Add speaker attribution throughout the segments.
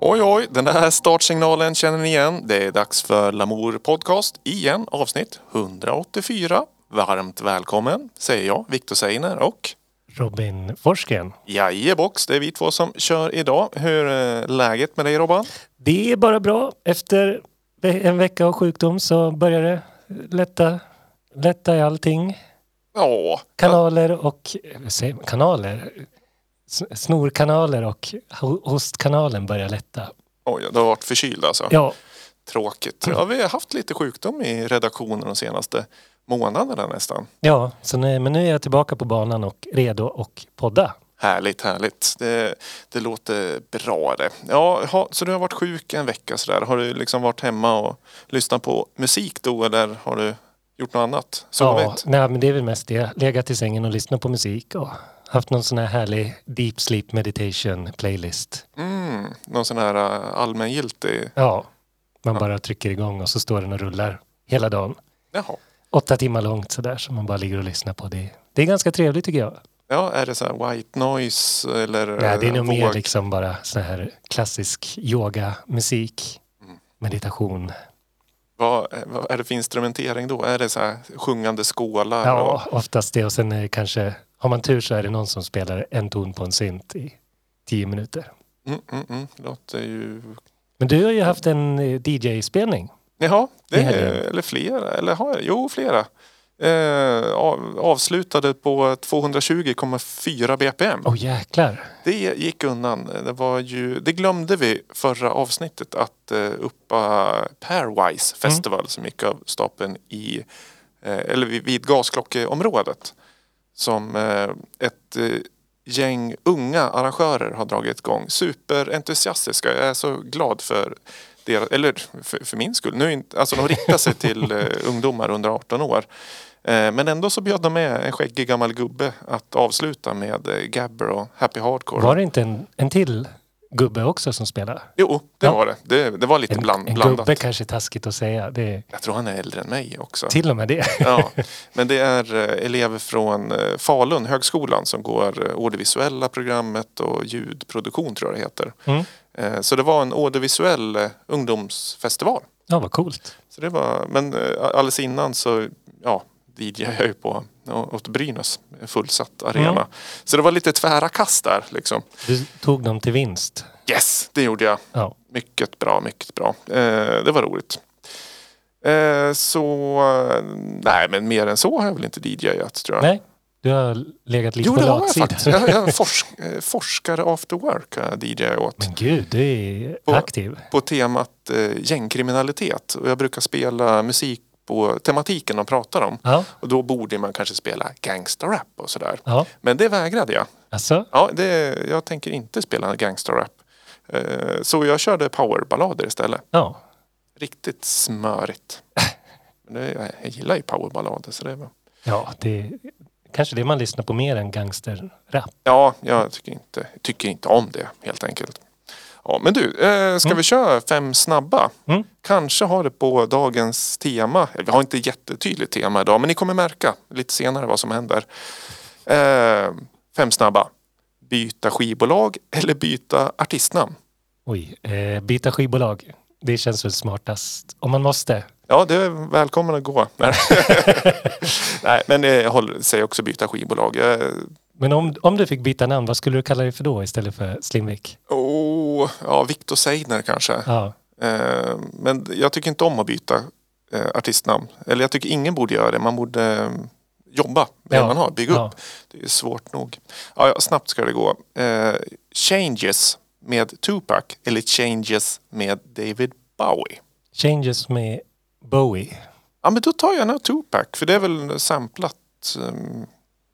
Speaker 1: Oj, oj, den här startsignalen känner ni igen. Det är dags för Lamour Podcast igen, avsnitt 184. Varmt välkommen säger jag, Viktor Seiner och
Speaker 2: Robin Forsgren.
Speaker 1: Jajebox, det är vi två som kör idag. Hur är läget med dig Robban?
Speaker 2: Det är bara bra. Efter ve- en vecka av sjukdom så börjar det lätta, lätta i allting.
Speaker 1: Ja,
Speaker 2: Kanaler och... eh, säg- Kanaler? S- Snorkanaler och ho- hostkanalen börjar lätta.
Speaker 1: oj, du har varit förkyld alltså.
Speaker 2: Ja,
Speaker 1: Tråkigt. Ja, vi har haft lite sjukdom i redaktionen de senaste månaderna nästan.
Speaker 2: ja så nu, men nu är jag tillbaka på banan och redo och podda.
Speaker 1: Härligt, härligt. Det, det låter bra det. Ja, ha, så du har varit sjuk en vecka sådär. Har du liksom varit hemma och lyssnat på musik då eller har du gjort något annat?
Speaker 2: Ja,
Speaker 1: Sovit?
Speaker 2: nej, men det är väl mest det. Legat i sängen och lyssnat på musik och haft någon sån här härlig deep sleep meditation playlist.
Speaker 1: Mm, någon sån här äh, allmängiltig...
Speaker 2: Ja, man bara trycker igång och så står den och rullar hela dagen.
Speaker 1: Jaha.
Speaker 2: Åtta timmar långt sådär som man bara ligger och lyssnar på. Det, det är ganska trevligt tycker jag.
Speaker 1: Ja, är det så här white noise eller
Speaker 2: Nej, det är
Speaker 1: eh,
Speaker 2: nog mer
Speaker 1: våg?
Speaker 2: liksom bara så här klassisk yoga, musik, meditation.
Speaker 1: Vad, eh, vad är det för instrumentering då? Är det så här sjungande skålar? och-
Speaker 2: Ja, oftast det. Och sen är det kanske, har man tur så är det någon som spelar en ton på en synt i tio minuter.
Speaker 1: Mm, mm, mm. Låter ju...
Speaker 2: Men du har ju haft en eh, DJ-spelning.
Speaker 1: Jaha, det
Speaker 2: I
Speaker 1: är,
Speaker 2: helgen.
Speaker 1: eller flera. Eller har jag? Jo, flera. Eh, av- avslutade på 220,4 bpm.
Speaker 2: Åh jäklar.
Speaker 1: Det gick undan. Det, var ju, det glömde vi förra avsnittet att eh, uppa
Speaker 2: Mm.
Speaker 1: Pairwise Festival som gick av stapeln i, eh, eller vid, vid gasklockeområdet. Som eh, ett eh, gäng unga arrangörer har dragit igång. Superentusiastiska. Jag är så glad för deras, eller för, för min skull. Nu, är inte- alltså de riktar sig till eh, ungdomar under 18 år. Eh, Men ändå så bjöd de med en skäggig gammal gubbe att avsluta med eh, Gabber och Happy Hardcore.
Speaker 2: Var det inte en, en till gubbe också som spelade?
Speaker 1: Jo, det
Speaker 2: Ja.
Speaker 1: var det. det. Det var lite
Speaker 2: En,
Speaker 1: bland,
Speaker 2: en
Speaker 1: blandat.
Speaker 2: gubbe kanske är taskigt att säga. Det är,
Speaker 1: Jag tror han är äldre än mig också.
Speaker 2: Till och med det.
Speaker 1: Ja. Men det är eh, elever från eh, Falun, högskolan, som går eh, audiovisuella programmet och ljudproduktion tror jag det heter.
Speaker 2: Mm.
Speaker 1: Eh, Så det var en audiovisuell eh, ungdomsfestival.
Speaker 2: Ja, vad coolt.
Speaker 1: Så det var, men eh, alldeles innan så ja, DJade jag ju på åt Brynäs, en fullsatt arena.
Speaker 2: Mm.
Speaker 1: Så det var lite tvära kast där liksom.
Speaker 2: Du tog dem till vinst.
Speaker 1: Yes, det gjorde jag.
Speaker 2: Ja.
Speaker 1: Mycket bra, mycket bra. Eh, det var roligt. Eh, så eh, nej, men mer än så har jag väl inte DJat tror jag.
Speaker 2: Nej, du har legat lite
Speaker 1: jo,
Speaker 2: på
Speaker 1: det har jag
Speaker 2: latsidan.
Speaker 1: faktiskt. Jag, jag är forsk, eh, forskare after work har jag DJat åt.
Speaker 2: Men gud, du är
Speaker 1: På-
Speaker 2: aktiv.
Speaker 1: På temat eh, gängkriminalitet. Och jag brukar spela musik på tematiken de pratar om.
Speaker 2: Ja,
Speaker 1: Och då borde man kanske spela gangsterrap och sådär.
Speaker 2: ja.
Speaker 1: Men det vägrade jag.
Speaker 2: Alltså,
Speaker 1: Ja, det, jag tänker inte spela gangsterrap. Eh, så jag körde powerballader istället.
Speaker 2: ja.
Speaker 1: Riktigt smörigt. Men det, jag gillar ju powerballader så det var...
Speaker 2: ja det är kanske det man lyssnar på mer än gangsterrap.
Speaker 1: Ja, jag tycker inte, tycker inte om det helt enkelt. Ja, men du, eh, ska vi köra fem snabba?
Speaker 2: Mm.
Speaker 1: Kanske har det på dagens tema. Vi har inte jättetydligt tema idag, men ni kommer märka lite senare vad som händer. Eh, fem snabba. Byta skivbolag eller byta artistnamn?
Speaker 2: Oj, eh, byta skivbolag. Det känns väl smartast om man måste.
Speaker 1: Ja, det är välkommen att gå. Nej, Nej men eh, jag håller, säger också byta skivbolag. Eh, Jag
Speaker 2: Men om, om du fick byta namn, vad skulle du kalla dig för då istället för Slimvik?
Speaker 1: Oh, ja, Victor Seidner kanske.
Speaker 2: Ja,
Speaker 1: Eh, men jag tycker inte om att byta eh, artistnamn. Eller jag tycker ingen borde göra det. Man borde eh, jobba med det
Speaker 2: Ja.
Speaker 1: man har, bygga
Speaker 2: Ja.
Speaker 1: upp. Det är svårt nog. Ja, ja, snabbt ska det gå. Eh, changes med Tupac eller Changes med David Bowie?
Speaker 2: Changes med Bowie.
Speaker 1: Ja, men då tar jag nog Tupac, för det är väl samplat um,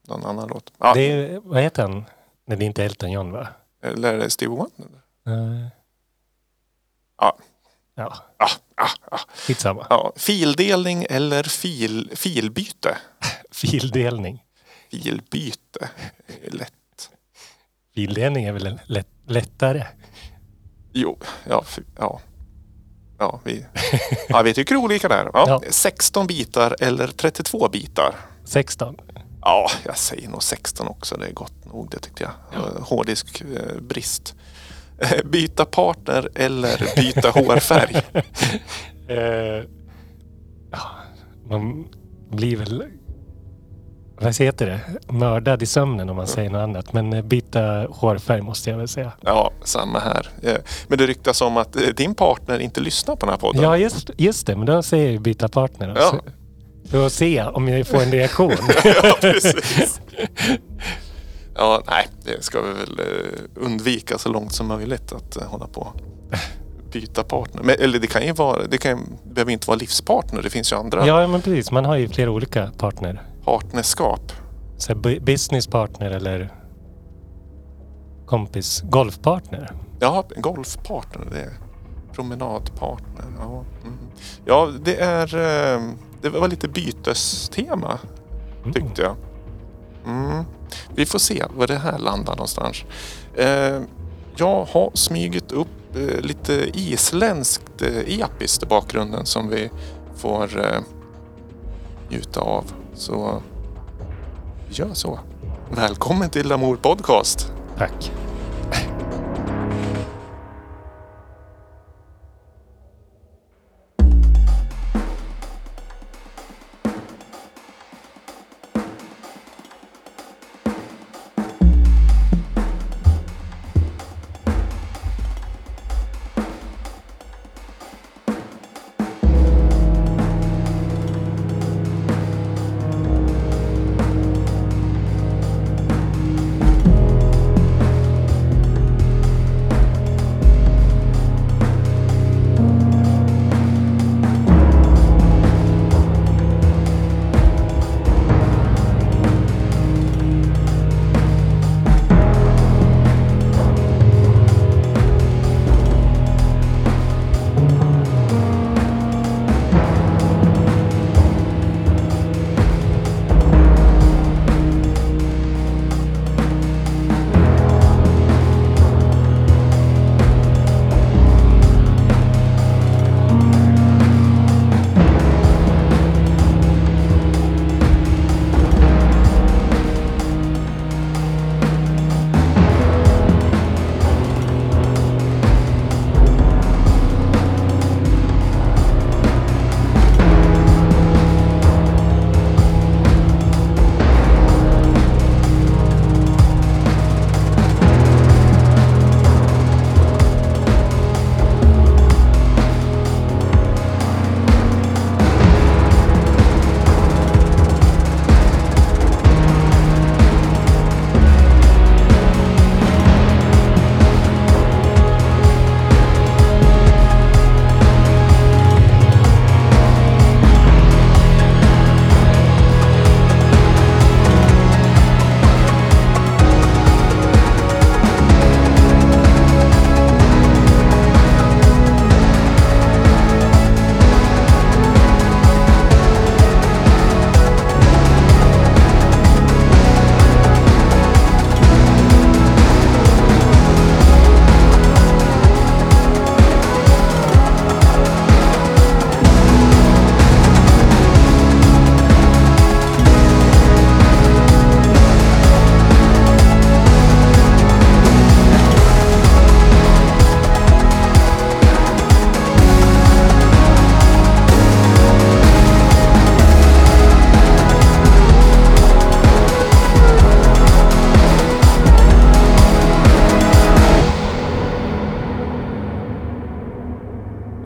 Speaker 1: någon annan låt. Ja,
Speaker 2: Det är, vad heter han? Nej, det är inte Elton John va?
Speaker 1: Eller är det Stevie Wonder?
Speaker 2: Eh,
Speaker 1: Ja.
Speaker 2: Ja,
Speaker 1: Ah, ah, ah.
Speaker 2: skitsamma.
Speaker 1: Ja, fildelning eller fil, filbyte?
Speaker 2: Fildelning.
Speaker 1: Filbyte. Lätt.
Speaker 2: Fildelning är väl en lätt, lättare?
Speaker 1: Jo, ja. fy- ja. Ja, vi, ja, vi tycker olika där. Ja.
Speaker 2: Ja.
Speaker 1: 16 bitar eller 32 bitar?
Speaker 2: 16.
Speaker 1: Ja, jag säger nog 16 också. Det är gott nog det tyckte jag. Hårddisk eh, brist. Eh, Byta partner eller byta hårfärg?
Speaker 2: Eh, ja, man blir väl... Vad heter det? Mördad i sömnen om man säger något annat. Men eh, byta hårfärg måste jag väl säga.
Speaker 1: Ja, samma här. Eh, Men det ryktas om att eh, din partner inte lyssnar på den här podden.
Speaker 2: Ja, just, just det. Men då säger jag ju byta partner.
Speaker 1: Ja.
Speaker 2: Då För att se om jag får en reaktion.
Speaker 1: ja, precis. Ja, nej, det ska vi väl eh, undvika så långt som möjligt att eh, hålla på och byta partner. Men, eller det kan ju vara, det kan, ju- behöver inte vara livspartner. Det finns ju andra
Speaker 2: ja, men precis. Man har ju flera olika partner.
Speaker 1: partnerskap.
Speaker 2: Så här, bu- business partner eller kompis. Golfpartner.
Speaker 1: Ja, golfpartner, det är promenadpartner. Ja, mm. ja det är, eh, det var lite bytestema
Speaker 2: Mm.
Speaker 1: tyckte jag. Mm. Vi får se var det här landar någonstans. Eh, jag har smygit upp eh, lite isländskt eh, episkt i bakgrunden som vi får eh, njuta av. Så gör så. Välkommen till Amor Podcast.
Speaker 2: Tack.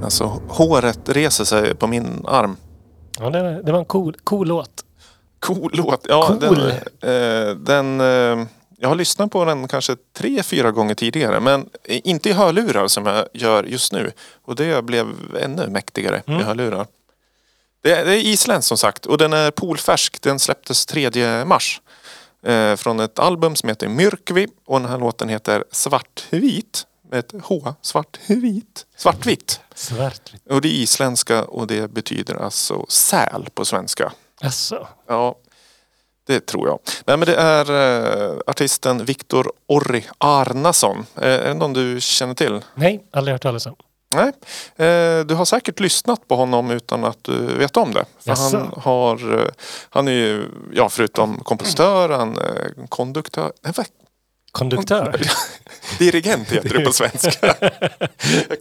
Speaker 1: Alltså håret reser sig på min arm.
Speaker 2: Ja, det, var- det var en cool, cool låt.
Speaker 1: Cool låt. Ja,
Speaker 2: Cool.
Speaker 1: Den, eh, den, eh, jag har lyssnat på den kanske tre, fyra gånger tidigare. Men inte i hörlurar som jag gör just nu. Och det blev ännu mäktigare i
Speaker 2: Mm.
Speaker 1: hörlurar. Det är, det är isländskt som sagt och den är polfärsk. Den släpptes 3 mars. Eh, från ett album som heter Myrkvi och den här låten heter Svartvit. Med ett H. Svartvit. Svartvitt.
Speaker 2: Svartvitt.
Speaker 1: Och det är isländska och det betyder alltså säl på svenska.
Speaker 2: Jaså?
Speaker 1: Ja, det tror jag. Nej, men det är eh, artisten Viktor Orri Arnason. Eh, är det någon du känner till?
Speaker 2: Nej, aldrig hört talas om.
Speaker 1: Nej. Eh, du har säkert lyssnat på honom utan att du vet om det. För
Speaker 2: Jaså?
Speaker 1: han, har, eh, han är ju, ja, förutom kompositör, han eh, konduktör. Nej, vad
Speaker 2: Konduktör?
Speaker 1: Dirigent heter det på svenska.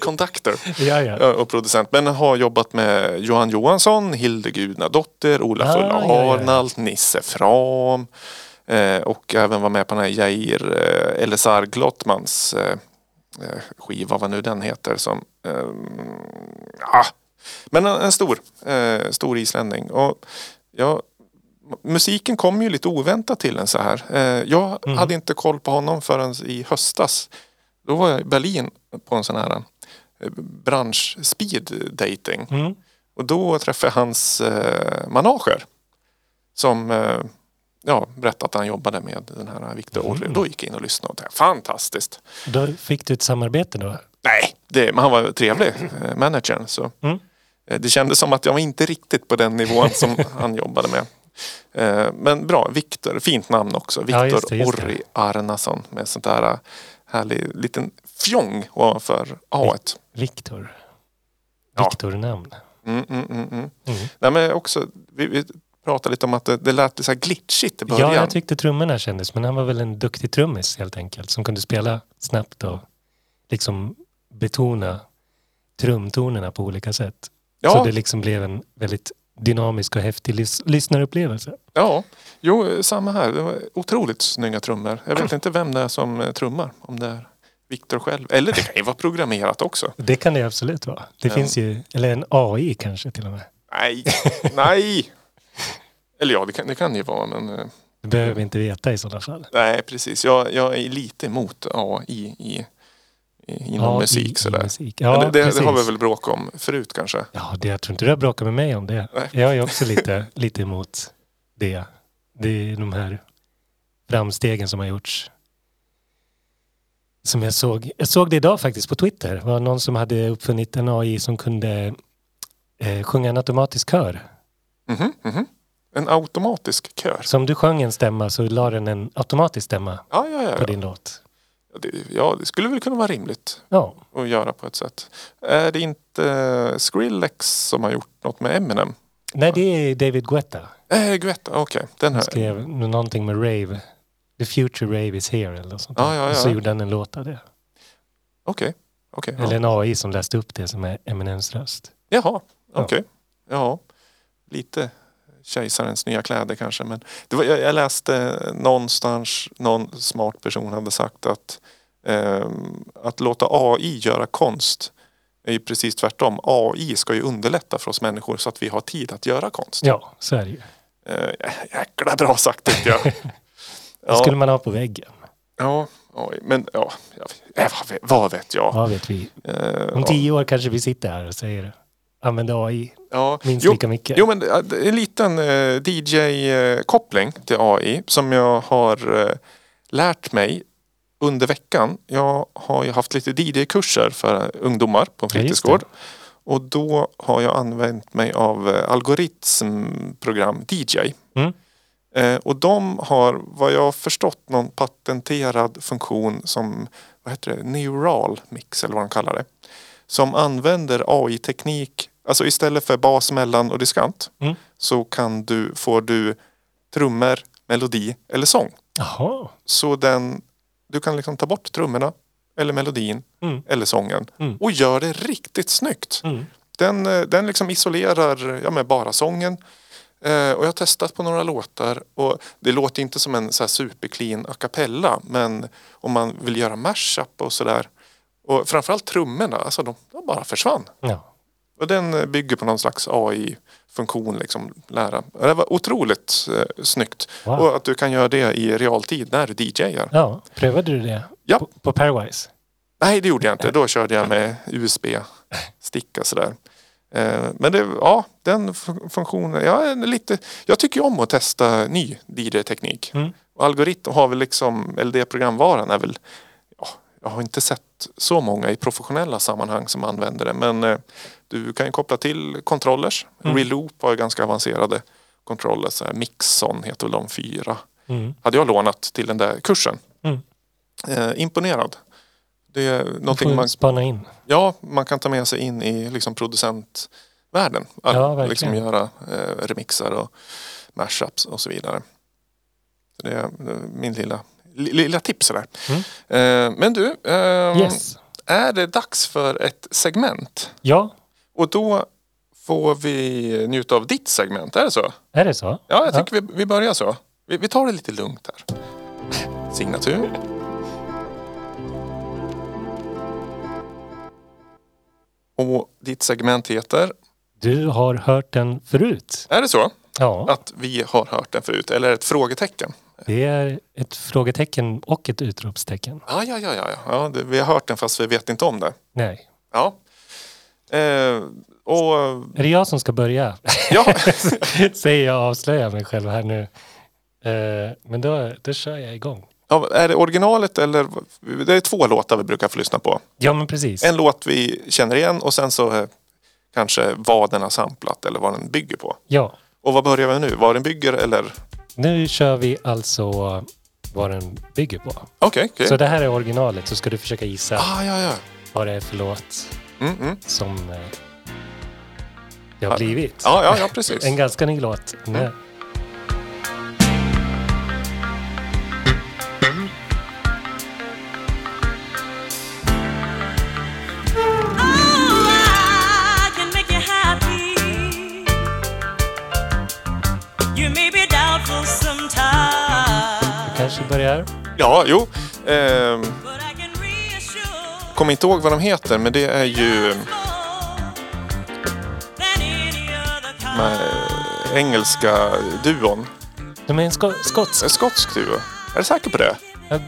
Speaker 1: Conductor
Speaker 2: Ja, ja.
Speaker 1: Ja, och producent. Men har jobbat med Johan Johansson, Hilde Gudnadottir, Ola
Speaker 2: Ah,
Speaker 1: Fulla
Speaker 2: ja, ja, ja.
Speaker 1: Arnalt, Nisse Fram. Eh, och även var med på den här Jair eh, LSR Glottmans eh, eh, skiva, vad nu den heter. Som, eh, ah. Men en, en stor, eh, stor islänning. Och, ja, musiken kom ju lite oväntat till en så här. Eh, jag
Speaker 2: Mhm.
Speaker 1: hade inte koll på honom förrän i höstas. Då var jag i Berlin på en sån här eh, bransch speed dating.
Speaker 2: Mm.
Speaker 1: Och då träffade jag hans eh, manager. Som eh, ja, berättade att han jobbade med den här Victor Orly. Då gick jag in och lyssnade och tänkte, fantastiskt.
Speaker 2: Då fick du ett samarbete då?
Speaker 1: Nej, det, men han var trevlig, eh, managern. Så.
Speaker 2: Mm.
Speaker 1: Eh, det kändes som att jag var inte riktigt på den nivån som han jobbade med. Eh, men bra, Victor, fint namn också.
Speaker 2: Ja,
Speaker 1: Victor
Speaker 2: just det, just det.
Speaker 1: Orri Arnason med sånt där eh, härlig liten fjong ovanför A1.
Speaker 2: Viktor.
Speaker 1: Ja.
Speaker 2: Viktor-namn.
Speaker 1: Mm, mm, mm, mm.
Speaker 2: Mm.
Speaker 1: Nej, men också, vi, vi pratade lite om att det, det lät så här glitchigt i början.
Speaker 2: Ja, jag tyckte trummorna kändes, men han var väl en duktig trummis helt enkelt som kunde spela snabbt och liksom betona trumtonerna på olika sätt. Så
Speaker 1: ja,
Speaker 2: det liksom blev en väldigt dynamisk och häftig lys- lyssnarupplevelse.
Speaker 1: ja. Jo, samma här. Det var otroligt snygga trummor. Jag vet inte vem det är som eh, trummar. Om det är Viktor själv. Eller det kan ju vara programmerat också.
Speaker 2: Det kan det absolut vara. Det
Speaker 1: Ja.
Speaker 2: finns ju, eller en AI kanske till och med.
Speaker 1: Nej, nej. Eller ja, det kan det kan det ju vara. Men, eh,
Speaker 2: Det behöver vi inte veta i sådana fall.
Speaker 1: nej, precis. Jag, jag är lite emot AI i, i, inom
Speaker 2: AI
Speaker 1: musik.
Speaker 2: i
Speaker 1: Sådär.
Speaker 2: musik. Ja,
Speaker 1: men det, det, det har vi
Speaker 2: precis.
Speaker 1: väl bråkat om förut kanske.
Speaker 2: Ja, det, jag tror inte du har bråkat med mig om det.
Speaker 1: Nej.
Speaker 2: Jag är också lite, lite emot det. Det är de här framstegen som har gjorts. Som jag såg. Jag såg det idag faktiskt på Twitter. Det var någon som hade uppfunnit en AI som kunde eh, sjunga en automatisk kör.
Speaker 1: Mhm, mhm. En automatisk kör.
Speaker 2: Så Alltså, om du sjöng en stämma så la den en automatisk stämma
Speaker 1: Ja, ja, ja.
Speaker 2: på
Speaker 1: ja.
Speaker 2: din låt.
Speaker 1: Ja, det, ja, det skulle väl kunna vara rimligt
Speaker 2: Ja,
Speaker 1: att göra på ett sätt. Är det inte Skrillex som har gjort något med Eminem?
Speaker 2: nej det är David Guetta.
Speaker 1: Eh, Guetta, okej. Den
Speaker 2: Han
Speaker 1: här.
Speaker 2: skrev någonting med rave. The future rave is here eller något sånt.
Speaker 1: Ja,
Speaker 2: där.
Speaker 1: ja,
Speaker 2: Och så
Speaker 1: ja.
Speaker 2: gjorde han en låt av det.
Speaker 1: Okej. okej.
Speaker 2: Eller
Speaker 1: ja.
Speaker 2: en AI som läste upp det som är Eminems röst.
Speaker 1: Jaha,
Speaker 2: Ja.
Speaker 1: okej. Ja, lite kejsarens nya kläder kanske. Men det var, jag, jag läste någonstans, någon smart person hade sagt att ehm, att låta AI göra konst är ju precis tvärtom. AI ska ju underlätta för oss människor så att vi har tid att göra konst.
Speaker 2: Ja, så är det ju.
Speaker 1: Eh, jäkla bra sagt tyckte jag.
Speaker 2: Det skulle
Speaker 1: Ja,
Speaker 2: man ha på väggen.
Speaker 1: ja, oj, men ja, jag vet- eh, vad vet- vad vet jag?
Speaker 2: Vad vet vi?
Speaker 1: Eh,
Speaker 2: Om
Speaker 1: ja,
Speaker 2: tio år kanske vi sitter här och säger använda AI
Speaker 1: ja.
Speaker 2: minst
Speaker 1: Jo,
Speaker 2: lika mycket.
Speaker 1: jo, men eh, det- det är en liten eh, DJ-koppling till AI som jag har eh, lärt mig under veckan. Jag har ju haft lite DJ-kurser för ungdomar på en
Speaker 2: Ja, just det.
Speaker 1: fritidsgård. Och då har jag använt mig av eh, algoritmprogram DJ.
Speaker 2: Mm.
Speaker 1: Eh, och de har, vad jag har förstått, någon patenterad funktion som vad heter det, neural mix eller vad de kallar det. Som använder AI-teknik, alltså istället för bas, mellan och diskant
Speaker 2: Mm.
Speaker 1: så kan du, får du trummor, melodi eller sång.
Speaker 2: Jaha,
Speaker 1: Så den, du kan liksom ta bort trummorna eller melodin
Speaker 2: Mm.
Speaker 1: eller sången
Speaker 2: Mm.
Speaker 1: och gör det riktigt snyggt.
Speaker 2: mm.
Speaker 1: Den, eh, den liksom isolerar ja, men bara sången. Eh, och jag har testat på några låtar och det låter inte som en så här superclean a cappella men om man vill göra mashup och sådär. Och framförallt trummorna, alltså de, de bara försvann.
Speaker 2: ja.
Speaker 1: Och den eh, bygger på någon slags AI-funktion, liksom lära. Och Det var otroligt eh, snyggt.
Speaker 2: Wow.
Speaker 1: Och att du kan göra det i realtid när du DJar.
Speaker 2: ja. Prövade du det
Speaker 1: Ja.
Speaker 2: på, på Pairwise?
Speaker 1: Nej, det gjorde jag inte. Då körde jag med USB-sticka sådär. Eh, Men det, ja, den fun- funktionen. Jag, är lite, jag tycker ju om att testa ny DJ-teknik.
Speaker 2: Mm.
Speaker 1: Och algoritm har väl liksom, eller det programvaran är väl, ja, jag har inte sett så många i professionella sammanhang som använder det. Men eh, du kan ju koppla till controllers.
Speaker 2: Mm.
Speaker 1: Reloop har ju ganska avancerade controllers. så här Mixon heter väl de fyra
Speaker 2: Mm.
Speaker 1: hade jag lånat till den där kursen.
Speaker 2: Mm.
Speaker 1: Eh, imponerad. Det är någonting
Speaker 2: Får
Speaker 1: man,
Speaker 2: spana in.
Speaker 1: ja, man kan ta med sig in i liksom producentvärlden. Att
Speaker 2: Ja, verkligen.
Speaker 1: liksom göra eh, remixar och mashups och så vidare. Så det är eh, min lilla li- lilla tips sådär. Eh, men du, ehm,
Speaker 2: Mm. Yes.
Speaker 1: är det dags för ett segment?
Speaker 2: Ja,
Speaker 1: Och då får vi njuta av ditt segment, är det så?
Speaker 2: är det så?
Speaker 1: Ja, jag tycker Vi, vi börjar så. Vi, vi tar det lite lugnt här. Signatur. Och ditt segment heter,
Speaker 2: Du har hört den förut.
Speaker 1: är det så
Speaker 2: Ja,
Speaker 1: att vi har hört den förut eller ett frågetecken?
Speaker 2: det är ett frågetecken och ett utropstecken.
Speaker 1: Ja, ja, ja, ja, ja. ja det, vi har hört den fast vi vet inte om det.
Speaker 2: Nej.
Speaker 1: Ja. Eh, och
Speaker 2: Är det jag som ska börja?
Speaker 1: ja,
Speaker 2: Säger jag och avslöjar mig själv här nu. Eh, Men då, då kör jag igång.
Speaker 1: ja, är det originalet eller? Det är två låtar vi brukar få lyssna på.
Speaker 2: Ja, men precis.
Speaker 1: En låt vi känner igen och sen så eh, kanske vad den har samplat eller vad den bygger på.
Speaker 2: Ja,
Speaker 1: Och vad börjar vi med nu? Vad den bygger eller?
Speaker 2: nu kör vi alltså vad den bygger på.
Speaker 1: Okej, okej.
Speaker 2: Så det här är originalet, så ska du försöka gissa
Speaker 1: Ah, ja, ja.
Speaker 2: vad det är för låt
Speaker 1: Mm, mm.
Speaker 2: som eh, det har blivit.
Speaker 1: Ja, ja, ja, precis.
Speaker 2: En ganska ny låt. Nej.
Speaker 3: I can make you happy. You may be doubtful sometimes,
Speaker 2: Kanske börjar.
Speaker 1: Ja, jo. Ehm,
Speaker 3: but I can reassure
Speaker 1: kommer inte ihåg vad de heter, men det är ju
Speaker 3: more than any other kind.
Speaker 1: eh, engelska duon.
Speaker 2: De är en sko- skotsk.
Speaker 1: En skotsk duo. Är du säker på det?
Speaker 2: Jag,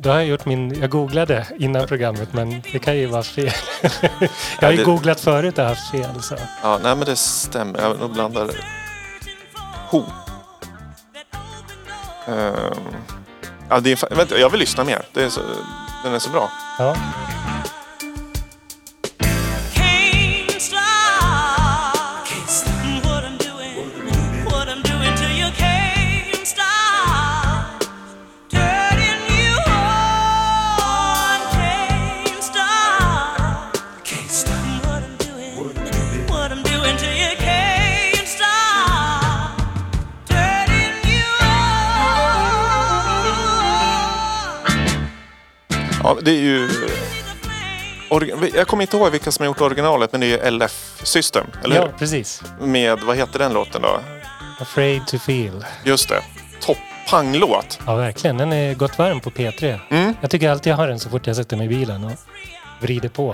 Speaker 2: då har jag gjort min... Jag googlade innan programmet, men det kan ju vara fel. jag har
Speaker 1: Ja, det-
Speaker 2: ju googlat förut och haft fel. Så.
Speaker 1: Ja, nej, men det stämmer. Jag nog blandar
Speaker 3: Searching for
Speaker 1: ihop.
Speaker 3: that open door.
Speaker 1: Ehm, ja, det är, fa- vänta, jag vill lyssna mer. Det är så, den är så bra.
Speaker 2: Ja.
Speaker 3: Can't stop what I'm doing, what I'm doing to you. Can't stop turning you on. Can't stop what I'm doing, what I'm doing to you. Can't stop turning you on.
Speaker 1: Ja, det är ju...
Speaker 3: See the flame.
Speaker 1: Orgi- Jag kommer inte ihåg vilka som har gjort originalet, men det är ju LF System. Eller
Speaker 2: ja,
Speaker 1: hur?
Speaker 2: precis.
Speaker 1: Med, vad heter den låten då?
Speaker 2: Afraid to feel.
Speaker 1: Just det. Topp, panglåt.
Speaker 2: Ja, verkligen. Den är gått varm på P3.
Speaker 1: Mm.
Speaker 2: Jag tycker alltid jag har den så fort jag sätter mig i bilen och vrider på.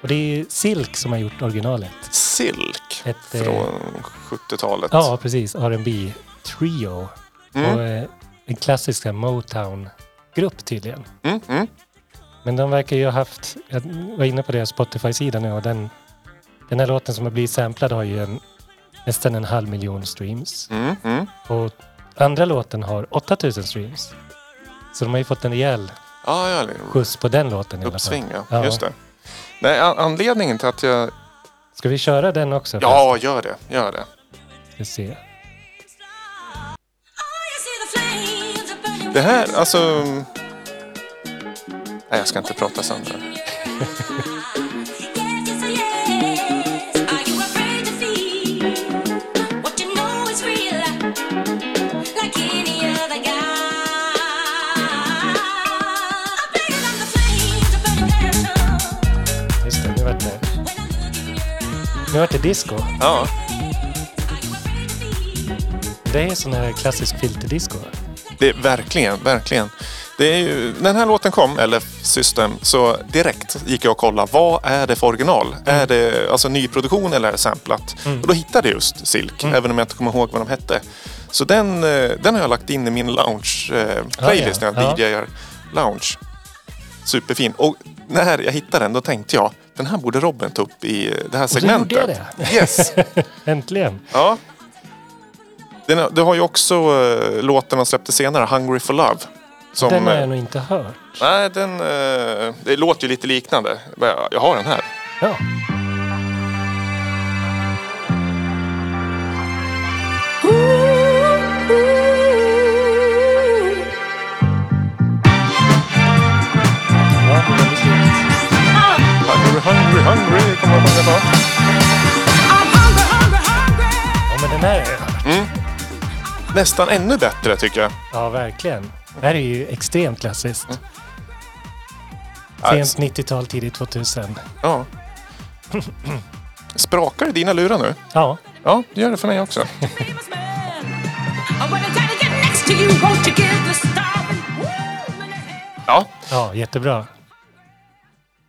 Speaker 2: Och det är Silk som har gjort originalet.
Speaker 1: Silk.
Speaker 2: Ett, eh,
Speaker 1: Från 70-talet.
Speaker 2: Ja, precis. R&B Trio.
Speaker 1: Mm.
Speaker 2: Och eh, en klassisk så här Motown-grupp tydligen.
Speaker 1: Mm, mm.
Speaker 2: Men de verkar ju ha haft, jag var inne på deras Spotify-sida nu och den, den här låten som har blivit samplad har ju en, nästan en halv miljon streams.
Speaker 1: Mm, mm.
Speaker 2: Och andra låten har 8000 streams. Så de har ju fått en rejäl
Speaker 1: Ja, ja.
Speaker 2: skjuts på den låten i alla fall.
Speaker 1: Uppsving, ja. Just det. Nej, an- anledningen till att jag...
Speaker 2: Ska vi köra den också?
Speaker 1: Ja, gör det. Gör det.
Speaker 2: förresten? Ska se.
Speaker 1: Det här, alltså... Nej, jag ska inte prata sönder.
Speaker 2: Just det, nu vart det, nu vart det disco.
Speaker 1: Ja.
Speaker 2: Det är sån här klassisk filterdisco.
Speaker 1: Det är verkligen, verkligen. Det är ju, när den här låten kom, eller System, så direkt gick jag och kollade vad är det för original?
Speaker 2: Mm.
Speaker 1: Är det alltså nyproduktion eller är det samplat? Och då hittade jag just Silk,
Speaker 2: Mm.
Speaker 1: även om jag inte kommer ihåg vad de hette. Så den, eh, den har jag lagt in i min lounge-playlist
Speaker 2: Ah, ja.
Speaker 1: när jag
Speaker 2: Ja.
Speaker 1: DJar lounge. Superfin. Och när jag hittade den, då tänkte jag den här borde Robin ta upp i eh, det här
Speaker 2: Och så
Speaker 1: segmentet.
Speaker 2: gjorde jag det.
Speaker 1: Yes!
Speaker 2: Äntligen.
Speaker 1: Ja. Den, har- du har ju också eh, låten han släppte senare, Hungry for Love. Som,
Speaker 2: Den har jag
Speaker 1: eh,
Speaker 2: nog inte hört.
Speaker 1: Nej, den... eh, det låter ju lite liknande. Jag- Jag har den här.
Speaker 2: Ja. Ja, det är väldigt likt.
Speaker 1: Hungry, hungry, hungry kommer jag att sjunga på.
Speaker 2: Ja, men den här är
Speaker 1: Nästan ännu bättre tycker jag.
Speaker 2: Ja, verkligen. Det här är ju extremt klassiskt.
Speaker 1: Nej,
Speaker 2: Sent 90-tal, tidigt 2000.
Speaker 1: Äh, Ja. Sprakar det i dina lurar nu?
Speaker 2: Ja,
Speaker 1: Ja, det gör det för mig också.
Speaker 4: famous man. I wanna try to get next to you. Won't you give the starving woman a hand?
Speaker 1: Ja,
Speaker 2: ja jättebra.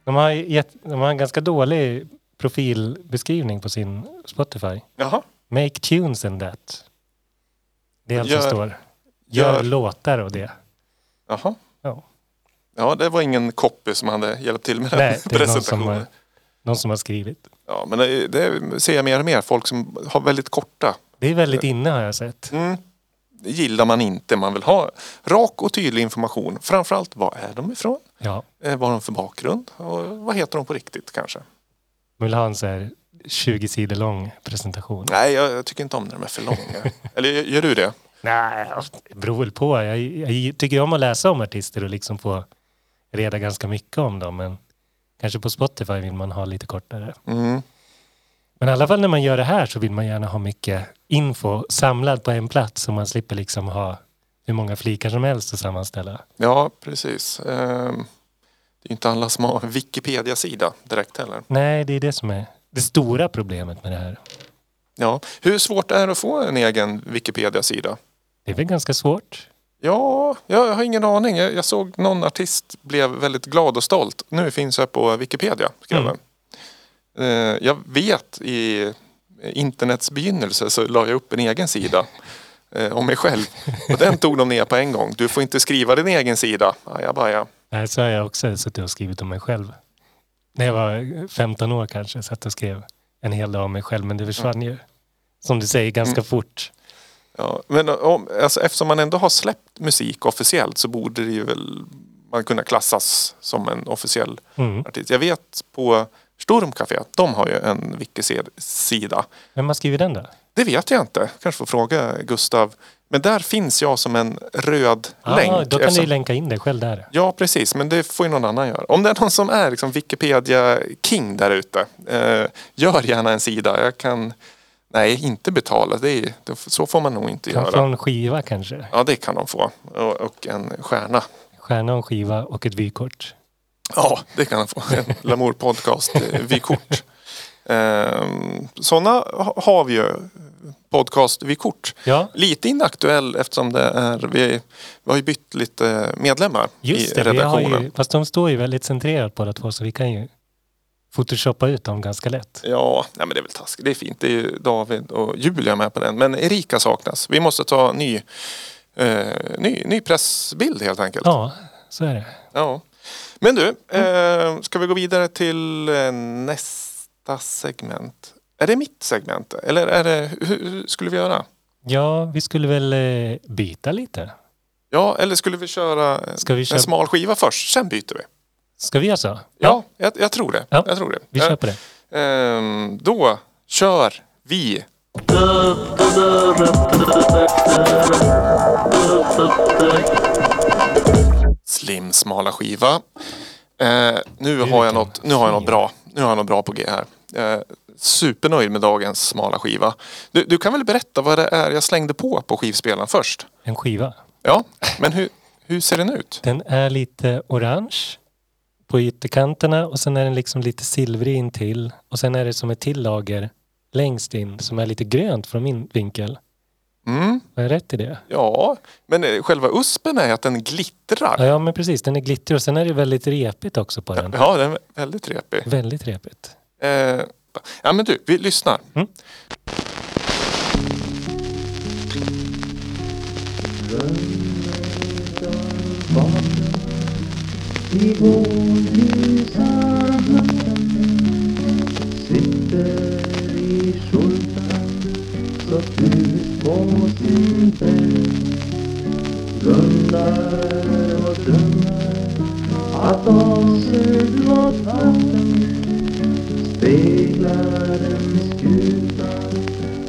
Speaker 2: De har, gett, de har en ganska dålig profilbeskrivning på sin Spotify.
Speaker 1: jaha.
Speaker 2: Make tunes and that. Det är allt som
Speaker 1: Gör-
Speaker 2: står. Gör,
Speaker 1: gör-
Speaker 2: låtar och det.
Speaker 1: jaha.
Speaker 2: Ja.
Speaker 1: Ja, det var ingen copy som hade hjälpt till med den
Speaker 2: Nej, det är någon som,
Speaker 1: presentationen.
Speaker 2: har, någon som har skrivit.
Speaker 1: Ja, men det, det ser jag mer och mer. Folk som har väldigt korta.
Speaker 2: Det är väldigt inne har jag sett.
Speaker 1: Mm. Det gillar man inte. Man vill ha rak och tydlig information. Framförallt, var är de ifrån?
Speaker 2: Ja,
Speaker 1: Eh, Vad har de för bakgrund? Och vad heter de på riktigt kanske?
Speaker 2: man vill ha en så här 20 sidor lång presentation.
Speaker 1: Nej, jag, jag tycker inte om när de är för långa. Eller gör du det?
Speaker 2: Nej, alltså, det beror väl på. Jag, jag tycker om att läsa om artister och liksom få reda ganska mycket om dem. Men kanske på Spotify vill man ha lite kortare.
Speaker 1: Mm.
Speaker 2: Men i alla fall när man gör det här så vill man gärna ha mycket info samlad på en plats så man slipper liksom ha hur många flikar som helst att sammanställa.
Speaker 1: Ja, precis. Ehm, Det är ju inte alla som har en Wikipedia-sida direkt heller.
Speaker 2: Nej, det är det som är det stora problemet med det här.
Speaker 1: Ja. Hur svårt är det att få en egen Wikipedia-sida?
Speaker 2: Det är väl ganska svårt.
Speaker 1: Ja, jag har ingen aning. Jag, jag såg någon artist blev väldigt glad och stolt. Nu finns jag på Wikipedia, skrev
Speaker 2: Mm.
Speaker 1: han. Eh, Jag vet i internets begynnelse så la jag upp en egen sida eh, om mig själv. Och den tog de ner på en gång. Du får inte skriva din egen sida. Ajabaja.
Speaker 2: Nej, så har jag också suttit och skrivit om mig själv. När jag var 15 år kanske satt och skrev en hel dag om mig själv, men det försvann ju. Som du säger, ganska fort.
Speaker 1: Ja, men om, alltså, eftersom man ändå har släppt musik officiellt så borde det ju väl man kunna klassas som en officiell
Speaker 2: Mm.
Speaker 1: artist. Jag vet på Stormcafé, de har ju en wiki-sida.
Speaker 2: Vem har skrivit den då?
Speaker 1: Det vet jag inte. Kanske får fråga Gustav. Men där finns jag som en röd länk. alltså.
Speaker 2: Ah, då kan du
Speaker 1: eftersom-
Speaker 2: ju länka in dig själv där.
Speaker 1: Ja, precis. Men det får ju någon annan göra. Om det är någon som är liksom Wikipedia-king där ute. Eh, gör gärna en sida. Jag kan... Nej, inte betala. Det är, det, så får man nog inte
Speaker 2: Kan
Speaker 1: göra.
Speaker 2: få en skiva kanske.
Speaker 1: Ja, det kan de få. Och, och en stjärna.
Speaker 2: Stjärna och en skiva och ett vykort.
Speaker 1: Ja, det kan de få. En Lamour Podcast eh, vykort. Sådana har vi ju. eh, Podcast vykort.
Speaker 2: Ja,
Speaker 1: Lite inaktuell eftersom det är, vi, vi har ju bytt lite medlemmar
Speaker 2: just
Speaker 1: i
Speaker 2: det. Vi har
Speaker 1: redaktionen.
Speaker 2: ju, fast de står ju väldigt centrerat båda två så vi kan ju photoshoppa ut dem ganska lätt.
Speaker 1: Ja, nej men det är väl taskigt. Det är fint. Det är ju David och Julia med på den. Men Erika saknas. Vi måste ta ny, eh, ny, ny pressbild helt enkelt.
Speaker 2: Ja, så är det.
Speaker 1: Ja. Men du,
Speaker 2: Mm.
Speaker 1: eh, ska vi gå vidare till eh, nästa segment? Är det mitt segment? Eller är det, hur, hur skulle vi göra?
Speaker 2: Ja, vi skulle väl eh, byta lite.
Speaker 1: Ja, eller skulle vi köra eh,
Speaker 2: Ska vi
Speaker 1: en
Speaker 2: köra-
Speaker 1: smal skiva först, sen byter vi?
Speaker 2: Ska vi göra så?
Speaker 1: Ja, jag, jag tror det.
Speaker 2: Ja.
Speaker 1: Jag tror det.
Speaker 2: Vi
Speaker 1: Eh,
Speaker 2: kör på det.
Speaker 1: Ehm, då kör vi. Slim smala skiva. Eh, nu, har jag något, nu har jag något bra. Nu har jag något bra på G här. Eh, supernöjd med dagens smala skiva. Du, du kan väl berätta vad det är jag slängde på på skivspelaren först?
Speaker 2: En skiva.
Speaker 1: Ja, men hur, hur ser den ut?
Speaker 2: Den är lite orange på ytterkanterna och sen är den liksom lite silvrig in till och sen är det som ett till lager längst in som är lite grönt från min vinkel.
Speaker 1: Mm,
Speaker 2: Har jag rätt i det?
Speaker 1: ja, men eh, själva uspen är att den glittrar.
Speaker 2: Ja, ja men precis, den är glittrig och sen är det väldigt repigt också på den.
Speaker 1: Ja, den är väldigt repig.
Speaker 2: Väldigt repigt.
Speaker 1: Eh, ja men du, vi lyssnar.
Speaker 2: Mm.
Speaker 5: I vårljusa natten sitter i skjortan satt ut på sin bädd Blundar och drömmer att avsedd var natten speglar en skuta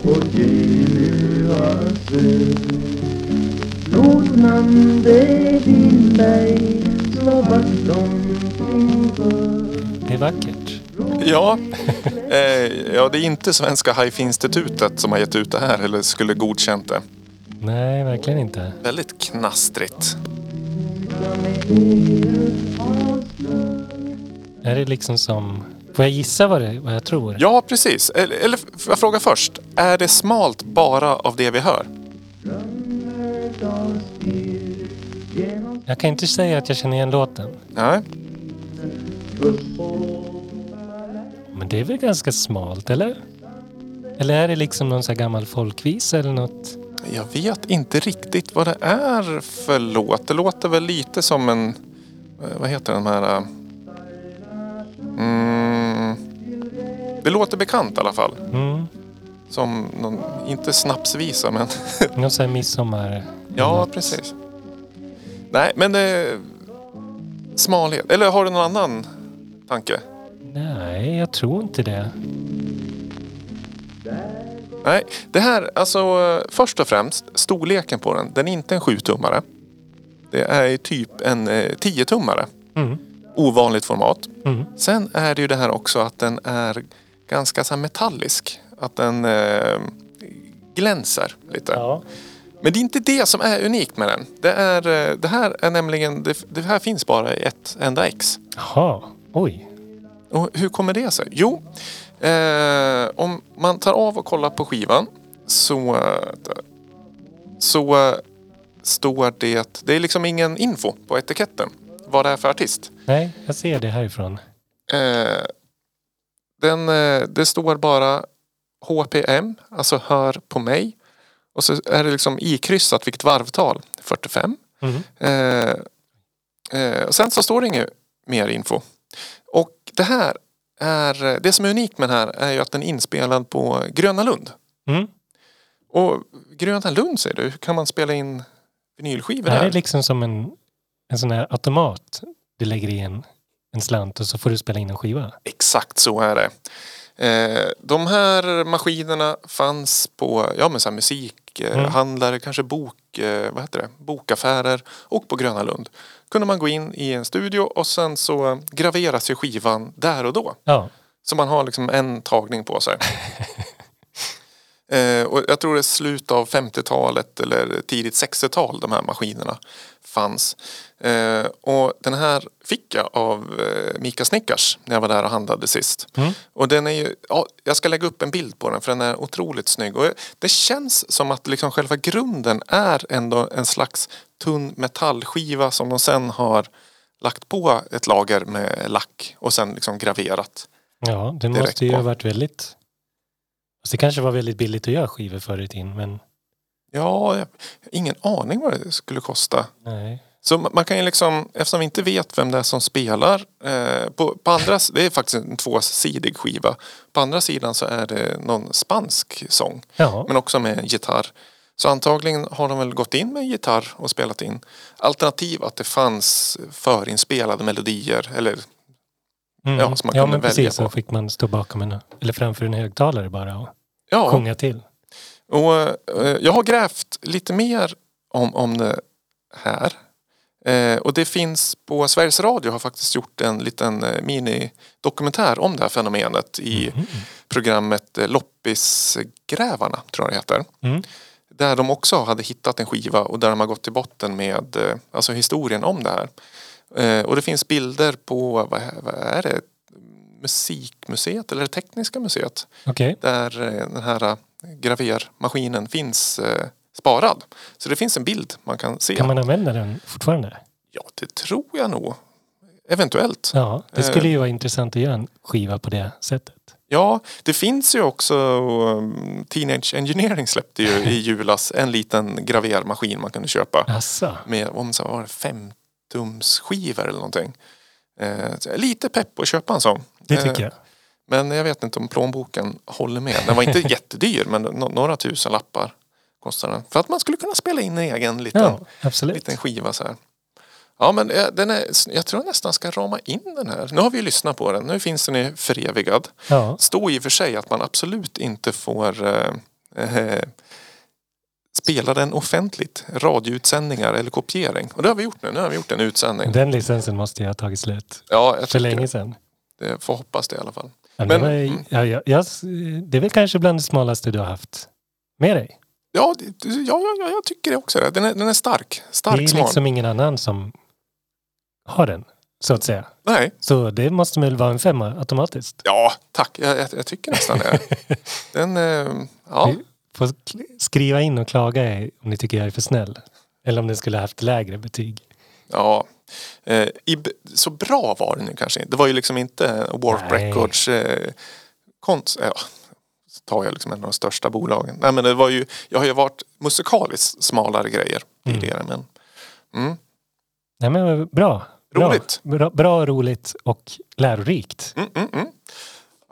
Speaker 5: på Genuas ö Rodnande vindberg slår vakt um omkring för
Speaker 2: Det är vackert.
Speaker 1: Ja. Eh, ja, det är inte Svenska Haifinstitutet som har gett ut det här eller skulle godkänt det.
Speaker 2: Nej, verkligen inte.
Speaker 1: Väldigt knastrigt.
Speaker 5: som är evigt avslöjad.
Speaker 2: Är det liksom som... Får jag gissa vad, det, vad jag tror?
Speaker 1: Ja, precis. Eller, eller f- jag frågar först. Är det smalt bara av det vi hör?
Speaker 5: Drömmer dag styr genom
Speaker 2: Jag kan inte säga att jag känner igen låten.
Speaker 1: Nej.
Speaker 2: Men det är väl ganska smalt, eller? Eller är det liksom någon så här gammal folkvisa eller något?
Speaker 1: Jag vet inte riktigt vad det är för låt. Det låter väl lite som en... eh, Vad heter den här... eh, Mm, det låter bekant i alla fall.
Speaker 2: Mm.
Speaker 1: Som någon, inte snapsvisa men...
Speaker 2: Någon så här midsommar...
Speaker 1: ja,
Speaker 2: något.
Speaker 1: precis. Nej, men det... Smalhet. Eller har du någon annan tanke?
Speaker 2: Nej, jag tror inte det.
Speaker 1: Nej, det här, alltså eh, först och främst storleken på den. Den är inte en 7-tummare. Det är ju typ en eh, 10-tummare.
Speaker 2: Mm.
Speaker 1: Ovanligt format.
Speaker 2: Mm.
Speaker 1: Sen är det ju det här också att den är ganska så här metallisk. Att den eh, glänser lite.
Speaker 2: Ja.
Speaker 1: Men det är inte det som är unikt med den. Det, är, eh, det här är nämligen, det, det här finns bara i ett enda ex.
Speaker 2: Jaha. Oj.
Speaker 1: Och hur kommer det sig? Jo, eh, om man tar av och kollar på skivan så, eh, så eh, står det... Det är liksom ingen info på etiketten vad det är för artist.
Speaker 2: Nej, jag ser det härifrån.
Speaker 1: Eh, den, eh, det står bara HPM, alltså hör på mig. Och så är det liksom ikryssat vilket varvtal, 45.
Speaker 2: Mm.
Speaker 1: Eh, eh, och sen så står det inget mer info. Och det här är, det som är unikt med den här är ju att den är inspelad på Gröna Lund.
Speaker 2: Mm.
Speaker 1: Och Gröna Lund säger du, hur kan man spela in vinylskivor
Speaker 2: Det här är
Speaker 1: här?
Speaker 2: liksom som en, en sån här automat. Du lägger i en, en slant och så får du spela in en skiva.
Speaker 1: Exakt så är det. Eh, de här maskinerna fanns på ja, men så här musikhandlare,
Speaker 2: Mm.
Speaker 1: eh, handlare, kanske bok, eh, vad heter det? bokaffärer och på Gröna Lund. kunde man gå in i en studio och sen så graveras ju skivan där och då.
Speaker 2: Ja.
Speaker 1: Så man har liksom en tagning på sig. eh, och jag tror det är slut av 50-talet eller tidigt 60-tal de här maskinerna fanns. Eh, och den här fick jag av eh, Mika Snickars när jag var där och handlade sist.
Speaker 2: Mm.
Speaker 1: Och den är ju, ja, jag ska lägga upp en bild på den för den är otroligt snygg. Och det känns som att liksom själva grunden är ändå en slags tunn metallskiva som de sen har lagt på ett lager med lack och sen liksom graverat.
Speaker 2: Ja, det
Speaker 1: Direkt
Speaker 2: måste ju
Speaker 1: på.
Speaker 2: ha varit väldigt... Alltså det kanske var väldigt billigt att göra skivor förr i tiden, men
Speaker 1: Ja, jag har ingen aning vad det skulle kosta.
Speaker 2: nej.
Speaker 1: Så ma- man kan ju liksom, eftersom vi inte vet vem det är som spelar. Eh, på, på andra, s- det är faktiskt en tvåsidig skiva. På andra sidan så är det någon spansk sång.
Speaker 2: Ja,
Speaker 1: Men också med gitarr. Så antagligen har de väl gått in med en gitarr och spelat in. Alternativ att det fanns förinspelade melodier. Eller,
Speaker 2: mm.
Speaker 1: ja, så man
Speaker 2: ja
Speaker 1: kunde
Speaker 2: men
Speaker 1: välja
Speaker 2: precis.
Speaker 1: på.
Speaker 2: Så fick man stå bakom en, eller framför en högtalare bara och
Speaker 1: ja,
Speaker 2: sjunga till.
Speaker 1: Och, eh, jag har grävt lite mer om, om det här. Eh, och det finns på Sveriges Radio har faktiskt gjort en liten eh, minidokumentär om det här fenomenet i programmet eh, Loppisgrävarna, tror jag det heter.
Speaker 2: Mm.
Speaker 1: Där de också hade hittat en skiva och där de har gått till botten med eh, alltså historien om det här. Eh, Och det finns bilder på, vad är- vad är det, Musikmuseet eller Tekniska museet?
Speaker 2: Okej.
Speaker 1: där eh, den här eh, gravermaskinen finns eh, sparad. Så det finns en bild man kan se.
Speaker 2: Kan man använda den fortfarande?
Speaker 1: Ja, det tror jag nog. Eventuellt. Ja.
Speaker 2: Ja, det skulle ju
Speaker 1: Eh.
Speaker 2: vara intressant att göra en skiva på det sättet.
Speaker 1: det finns ju också... um, Teenage Engineering släppte ju i julas en liten gravermaskin man kunde köpa.
Speaker 2: Asså.
Speaker 1: Med om så var det femtumsskivor eller någonting. Eh, så jag är lite pepp på att köpa en sån.
Speaker 2: Det
Speaker 1: Eh,
Speaker 2: tycker jag.
Speaker 1: Men jag vet inte om plånboken håller med. Den var inte jättedyr men no- några tusen lappar kostade den. För att man skulle kunna spela in en egen liten,
Speaker 2: Ja, absolut.
Speaker 1: liten skiva så här. Ja men eh, den är, jag tror jag nästan ska rama in den här. Nu har vi ju lyssnat på den. Nu finns den ju förevigad.
Speaker 2: Ja,
Speaker 1: Står i och för sig att man absolut inte får eh, eh, spela den offentligt. Radioutsändningar eller kopiering. Och det har vi gjort nu. Nu har vi gjort en utsändning.
Speaker 2: den licensen måste jag ha tagit slut
Speaker 1: Ja, jag
Speaker 2: för
Speaker 1: tycker
Speaker 2: länge sedan.
Speaker 1: det. Får hoppas det i alla fall.
Speaker 2: Ja,
Speaker 1: Men- mm.
Speaker 2: det, var, ju- ja, ja, jag, det är väl kanske bland det smalaste du har haft med dig?
Speaker 1: Ja, det- ja, ja, ja jag tycker det också. Den är, den är stark.
Speaker 2: Det är
Speaker 1: Stark
Speaker 2: ju
Speaker 1: smak.
Speaker 2: liksom ingen annan som har den, så att säga.
Speaker 1: Nej.
Speaker 2: Så det måste väl vara en femma automatiskt.
Speaker 1: Ja, tack. Jag, jag, jag tycker nästan det. Den, eh, ja.
Speaker 2: Ni får sk- skriva in och klaga i- om ni tycker jag är för snäll. Eller om ni skulle ha haft lägre betyg.
Speaker 1: ja. Eh, i, b- så bra var den ju kanske inte. Det var ju liksom inte Warp
Speaker 2: Nej.
Speaker 1: Records eh, konst... Ja. Så tar jag liksom en av de största bolagen. Nej men det var ju, jag har ju varit musikaliskt smalare grejer
Speaker 2: Mm.
Speaker 1: tidigare men mm.
Speaker 2: Nej men eh, bra. Bra.
Speaker 1: Roligt.
Speaker 2: Bra, bra roligt och lärorikt.
Speaker 1: Mm, mm, mm.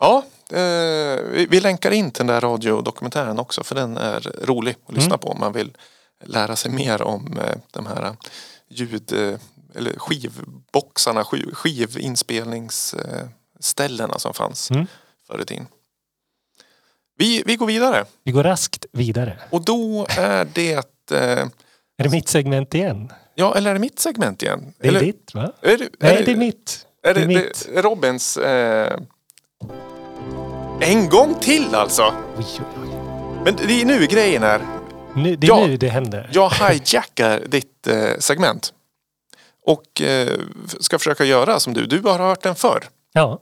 Speaker 1: Ja, eh, vi, vi länkar in till den där radiodokumentären också för den är rolig att lyssna
Speaker 2: Mm.
Speaker 1: på om man vill lära sig mer om eh, de här ljud eh, eller skivboxarna, skiv, skivinspelningsställena som fanns
Speaker 2: Mm.
Speaker 1: förr i tiden. Vi, vi går vidare
Speaker 2: Vi går raskt vidare.
Speaker 1: och då är det eh,
Speaker 2: Är det mitt segment igen?
Speaker 1: Ja, eller är det mitt segment igen?
Speaker 2: Det är
Speaker 1: eller,
Speaker 2: ditt va?
Speaker 1: Är det, är
Speaker 2: Nej, det är mitt.
Speaker 1: Är
Speaker 2: det
Speaker 1: det,
Speaker 2: är mitt.
Speaker 1: det, är Robins... Eh, en gång till alltså!
Speaker 2: Oj, oj, oj.
Speaker 1: Men det är nu grejen är.
Speaker 2: Nu, det är
Speaker 1: Ja.
Speaker 2: nu det händer.
Speaker 1: Jag hijackar ditt eh, segment. Och eh, ska försöka göra som du. Du har hört den förr.
Speaker 2: Ja.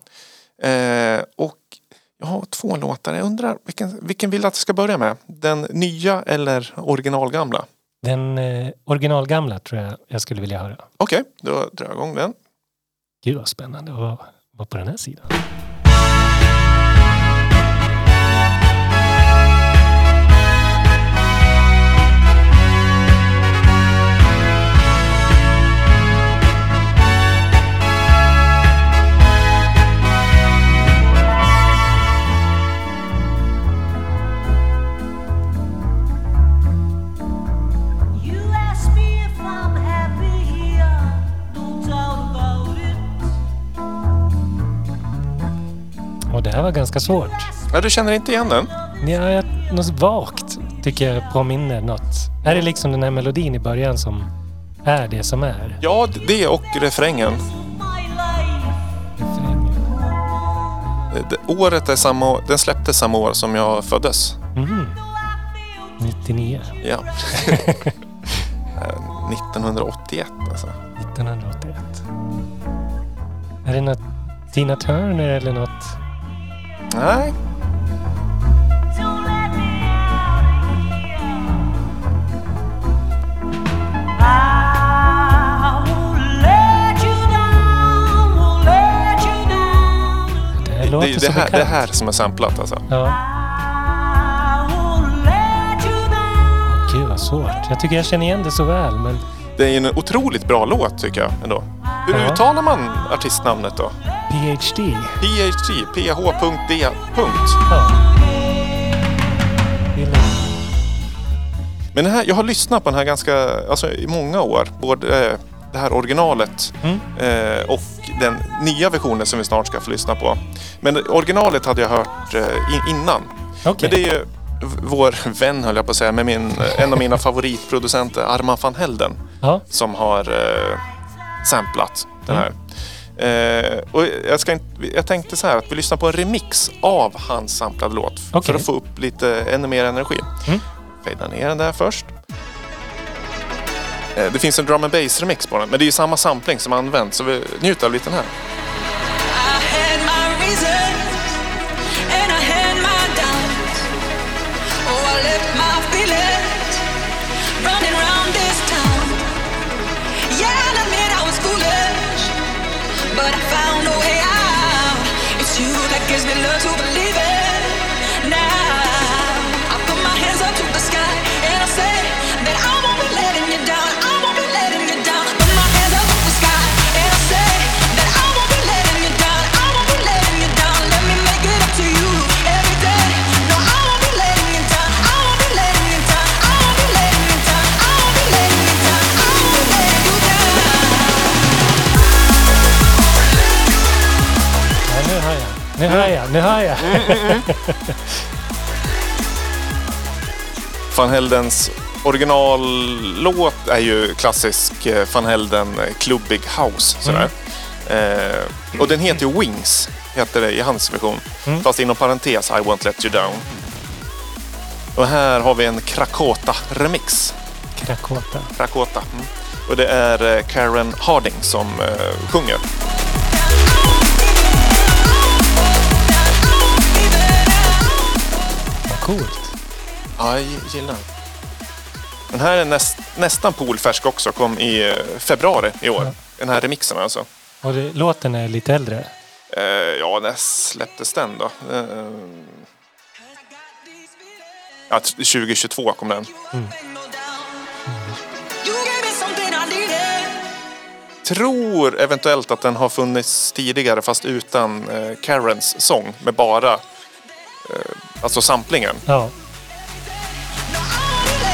Speaker 1: Eh, och jag har två låtar. Jag undrar vilken, vilken vill du att jag ska börja med? Den nya eller originalgamla?
Speaker 2: Den eh, originalgamla tror jag jag skulle vilja höra.
Speaker 1: Okej, då drar jag igång den.
Speaker 2: Gud vad spännande att vara, vara på den här sidan.
Speaker 3: You ask me if I'm happy here, no doubt about it.
Speaker 2: Och det här var ganska svårt.
Speaker 1: Ja, du känner inte igen den?
Speaker 2: Ja, jag, något vagt tycker jag påminner något. Är det liksom den här melodin i början som är det som är?
Speaker 1: Ja, det och refrängen.
Speaker 3: My life,
Speaker 1: Eh, det- Året är samma, år- den släpptes samma år som jag föddes.
Speaker 2: Mhm,
Speaker 3: I feel
Speaker 2: 99.
Speaker 1: Ja. Eh, 1981 alltså.
Speaker 2: 1981. Är det något Tina Turner eller något?
Speaker 1: Nej,
Speaker 3: don't let me out here. I won't let you down, won't let you down.
Speaker 2: Det här
Speaker 1: det,
Speaker 2: låter
Speaker 1: är ju
Speaker 2: så
Speaker 1: det, här,
Speaker 2: bekant.
Speaker 1: det här som är samplat alltså.
Speaker 2: Ja,
Speaker 3: I won't let you down.
Speaker 2: gud vad svårt. Jag tycker jag känner igen det så väl, men
Speaker 1: Det är ju en otroligt bra låt tycker jag ändå. Hur
Speaker 2: Ja.
Speaker 1: uttalar man artistnamnet då?
Speaker 2: PhD.
Speaker 1: PhD, PH.D.
Speaker 2: Ja. Det är lugnt.
Speaker 1: Men den här, jag har lyssnat på den här ganska, alltså i många år. Både eh, det här originalet
Speaker 2: Mm.
Speaker 1: eh, och den nya versionen som vi snart ska få lyssna på. Men originalet hade jag hört eh, in- innan.
Speaker 2: Okej.
Speaker 1: Men det är ju v- vår vän höll jag på att säga, men min, en av mina favoritproducenter Arman van Helden.
Speaker 2: Ja,
Speaker 1: som har eh, samplat den här. Eh, och jag, ska inte, jag tänkte så här att vi lyssnar på en remix av hans samplade låt f-
Speaker 2: Okej.
Speaker 1: för att få upp lite ännu mer energi.
Speaker 2: Mm.
Speaker 1: Fejda ner den där först. Eh, det finns en drum and bass remix på den, men det är ju samma sampling som används. Så vi njuter av lite den här.
Speaker 4: I had my reasons and I had my doubts. Oh, I left my feelings running round this town. Yeah, I admit I was foolish, but I found a way out. It's you that gives me love to believe in. Now I put my hands up to the sky and I say that I won't be letting you down. I won't be letting you down. Put my hands up to the sky and I say that I won't be letting you down. I won't be letting you down. Let me make it up to you every day. No, I won't be letting you down. I won't be letting you down. I won't be letting you down. I won't be letting you down. I
Speaker 2: ja nu
Speaker 4: won't let you down.
Speaker 2: hör jag. Nu hör jag. Nu hör jag.
Speaker 1: Van Heldens originallåt är ju klassisk eh, Van Helden eh, klubbig house. Sådär. Eh, och den heter ju Wings, heter det i hans version. Fast inom parentes I won't let you down. Och här har vi en Krakota-remix.
Speaker 2: Rakota.
Speaker 1: Rakota. Mm. Och det är eh, Karen Harding som eh, sjunger.
Speaker 2: Vad coolt.
Speaker 1: Ja, jag gi- gillar den. Den här är näst, nästan polfärsk också, kom i eh, februari i år. Den här remixen alltså.
Speaker 2: Och det, låten är lite äldre.
Speaker 1: Eh, ja, när släpptes den då? Eh, ja, t- 2022 kom den.
Speaker 4: You gave me something I needed.
Speaker 1: Tror eventuellt att den har funnits tidigare fast utan eh, Karens sång med bara eh, alltså samplingen.
Speaker 2: Ja.
Speaker 4: No, I won't be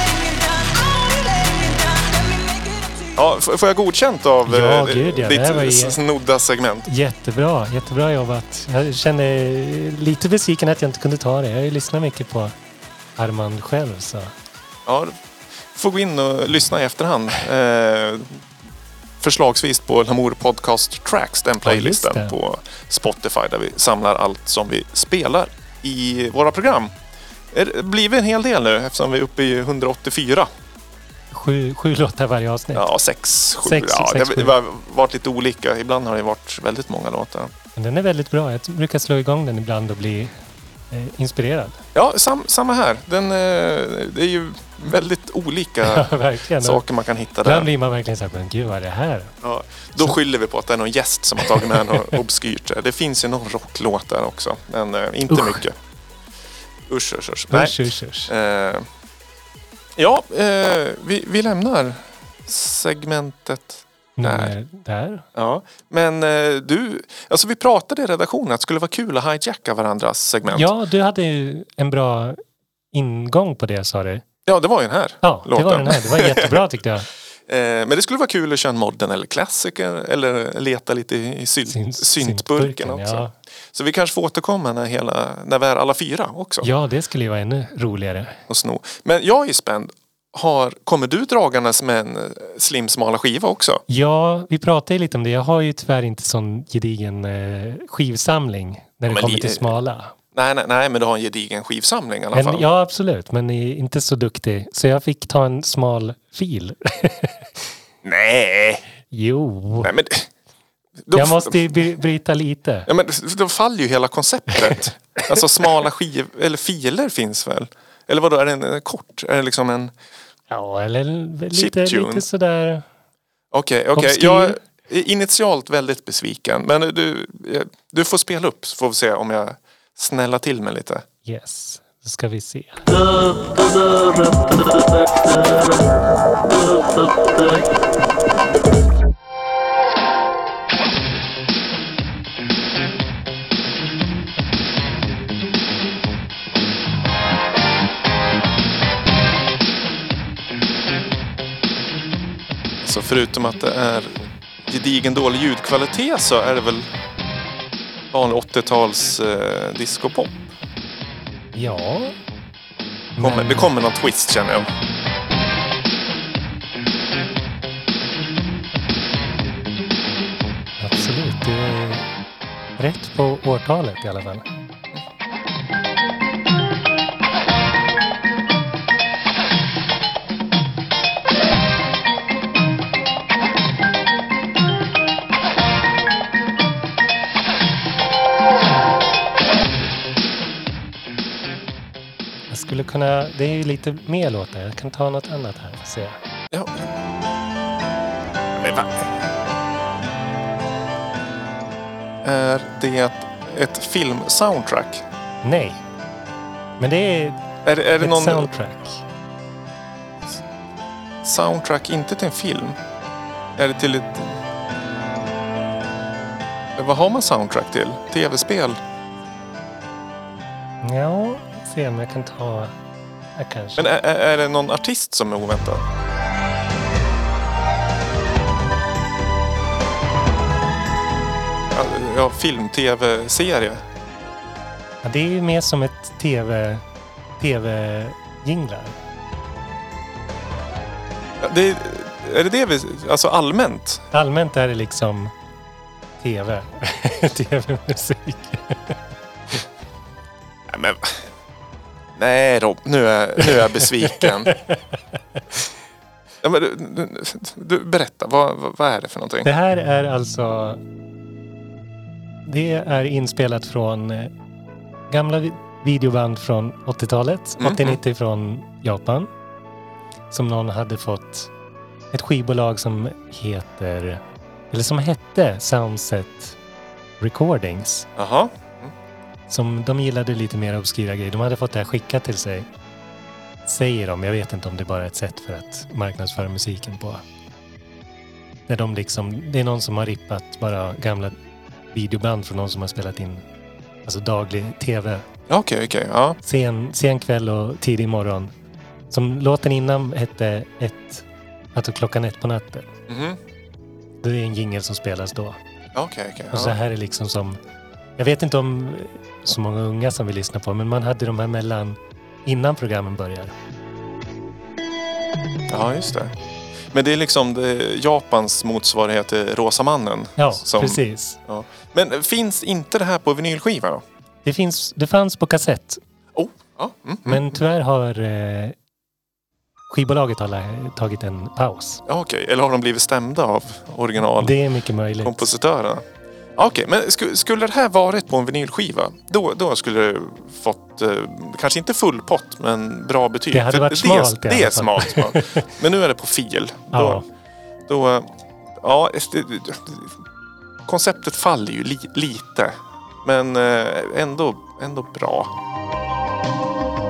Speaker 4: letting you down. I won't be letting you down. Let me make it up to you.
Speaker 1: Ja, f- får jag godkänt av eh,
Speaker 2: Ja, gud, ja, det här var ju-
Speaker 1: ditt snodda segment?
Speaker 2: Jättebra, jättebra jobbat. Jag känner lite besviken att jag inte kunde ta det. Jag har ju lyssnat mycket på Armand själv. Så.
Speaker 1: Ja, du får gå in och lyssna i efterhand. Eh, förslagsvis på Lamour Podcast Tracks, den playlistan
Speaker 2: Ja, just det.
Speaker 1: på Spotify där vi samlar allt som vi spelar i våra program. Är Det blir en hel del nu eftersom vi är uppe i 184.
Speaker 2: Sju, sju låtar varje avsnitt.
Speaker 1: Ja, sex, sju.
Speaker 2: Sex,
Speaker 1: ja,
Speaker 2: sex,
Speaker 1: det
Speaker 2: sju.
Speaker 1: har varit lite olika. Ibland har det varit väldigt många låtar.
Speaker 2: Men den är väldigt bra. Jag brukar slå igång den ibland och bli eh, inspirerad.
Speaker 1: Ja, sam, samma här. Den, eh, det är ju väldigt olika
Speaker 2: Ja, verkligen.
Speaker 1: saker man kan hitta
Speaker 2: Ibland
Speaker 1: där.
Speaker 2: blir man verkligen så här, men gud vad är det här?
Speaker 1: Ja, då skyller vi på att det är någon gäst som har tagit med något obskyrt. där. Det finns ju någon rocklåt där också, men eh, inte
Speaker 2: Usch.
Speaker 1: mycket. Usch, usch, usch. Nej.
Speaker 2: Usch, usch, usch.
Speaker 1: Eh, ja, eh, vi, vi lämnar segmentet
Speaker 2: Nummer där.
Speaker 1: Ja, men eh, du, alltså vi pratade i redaktionen att det skulle vara kul att hijacka varandras segment.
Speaker 2: Ja, du hade ju en bra ingång på det sa du.
Speaker 1: Ja, det var ju den här.
Speaker 2: Ja, det var
Speaker 1: Låten.
Speaker 2: den här. Det var jättebra tyckte jag.
Speaker 1: Eh, men det skulle vara kul att köra en modden eller klassiker eller leta lite i syl-
Speaker 2: Synt-
Speaker 1: syntburken också.
Speaker 2: Ja.
Speaker 1: Så vi kanske får återkomma när, hela, när vi är alla fyra också
Speaker 2: ja, det skulle ju vara ännu roligare.
Speaker 1: och sno. Men jag är ju spänd. Har, kommer du dragandes med en eh, slimsmala skiva också?
Speaker 2: Ja, vi pratade ju lite om det. Jag har ju tyvärr inte sån gedigen eh, skivsamling när det
Speaker 1: men
Speaker 2: kommer
Speaker 1: li-
Speaker 2: till smala.
Speaker 1: Nej, nej, nej, men du har en gedigen skivsamling i alla
Speaker 2: Men,
Speaker 1: fall.
Speaker 2: ja, absolut. Men är inte så duktig. Så jag fick ta en smal fil.
Speaker 1: Nej,
Speaker 2: jo,
Speaker 1: nej men... Då,
Speaker 2: jag måste ju bry- bryta lite.
Speaker 1: Ja, men då faller ju hela konceptet. alltså smala skiv... Eller filer finns väl? Eller vadå, är den eh, kort? Är det liksom en...
Speaker 2: Ja, eller lite,
Speaker 1: Chiptune.
Speaker 2: lite sådär.
Speaker 1: Okej, okej.
Speaker 2: Obskyr.
Speaker 1: Jag är initialt väldigt besviken. Men du, eh, du får spela upp så får vi se om jag snälla till mig lite.
Speaker 2: Yes, då ska vi se.
Speaker 1: Så förutom att det är gedigen dålig ljudkvalitet så är det väl vanlig 80-tals eh, discopop.
Speaker 2: Ja.
Speaker 1: Kommer, det kommer någon twist känner jag.
Speaker 2: Absolut. Du är rätt på årtalet i alla fall. Jag skulle kunna, det är ju lite mer låtar. Jag kan ta något annat här. och Se.
Speaker 1: Ja. Men va? Är det ett filmsoundtrack?
Speaker 2: Nej. Men det är,
Speaker 1: Är, det- är det
Speaker 2: ett
Speaker 1: någon
Speaker 2: soundtrack.
Speaker 1: soundtrack inte till en film? Är det till ett... Men Vad har man soundtrack till? Tv-spel?
Speaker 2: Ja, se om jag kan ta... Ja, kanske.
Speaker 1: Men är, är är det någon artist som är oväntad? Ja, Ja, film, tv-serie.
Speaker 2: ja, det är ju mer som ett tv... tv-jinglar.
Speaker 1: Ja, Det, är det det vi... Alltså allmänt?
Speaker 2: Allmänt är det liksom tv. tv-musik.
Speaker 1: Nej, men... Nej Rob, nu är, nu är jag besviken. Ja, men du, du, du, berätta, vad, vad, vad är det för någonting?
Speaker 2: Det här är alltså... Det är inspelat från eh, gamla vi- videoband från 80-talet.
Speaker 1: Mhm.
Speaker 2: 80-90 från Japan. Som någon hade fått ett skivbolag som heter... Eller som hette Soundset Recordings.
Speaker 1: Jaha.
Speaker 2: Som de gillade lite mer obskyra grejer. De hade fått det här skickat till sig. Säger de. Jag vet inte om det är bara är ett sätt för att marknadsföra musiken på. När de liksom, det är någon som har rippat bara gamla videoband från någon som har spelat in alltså daglig tv.
Speaker 1: Ja, Okej, okej. Ja.
Speaker 2: Sen, sen kväll och tidig morgon. Som låten innan hette ett, alltså klockan ett på natten.
Speaker 1: Mhm.
Speaker 2: Det är en jingel som spelas då.
Speaker 1: Ja, Okej, okej.
Speaker 2: Och så
Speaker 1: ja.
Speaker 2: här är liksom som... Jag vet inte om så många unga som vill lyssna på, men man hade de här mellan innan programmen börjar.
Speaker 1: Ja, just det. Men det är liksom det, Japans motsvarighet till Rosa mannen.
Speaker 2: Ja,
Speaker 1: som-
Speaker 2: precis.
Speaker 1: Ja. Men finns inte det här på vinylskiva då?
Speaker 2: Det, finns, det fanns på kassett,
Speaker 1: Oh, ja. Mm.
Speaker 2: men tyvärr har eh, skivbolaget har la- tagit en paus.
Speaker 1: ja okej. Eller har de blivit stämda av originalkompositörerna?
Speaker 2: Det är mycket möjligt.
Speaker 1: Ja, Okej, men sku, skulle det här varit på en vinylskiva, då, då skulle det fått, eh, kanske inte full pott, men bra betyg.
Speaker 2: Det hade
Speaker 1: För
Speaker 2: varit smalt
Speaker 1: Det,
Speaker 2: i alla
Speaker 1: det är
Speaker 2: fall.
Speaker 1: smalt. smalt. men nu är det på fil.
Speaker 2: Ja,
Speaker 1: Då, då, ja, det, konceptet faller ju li, lite. Men eh, ändå, ändå bra.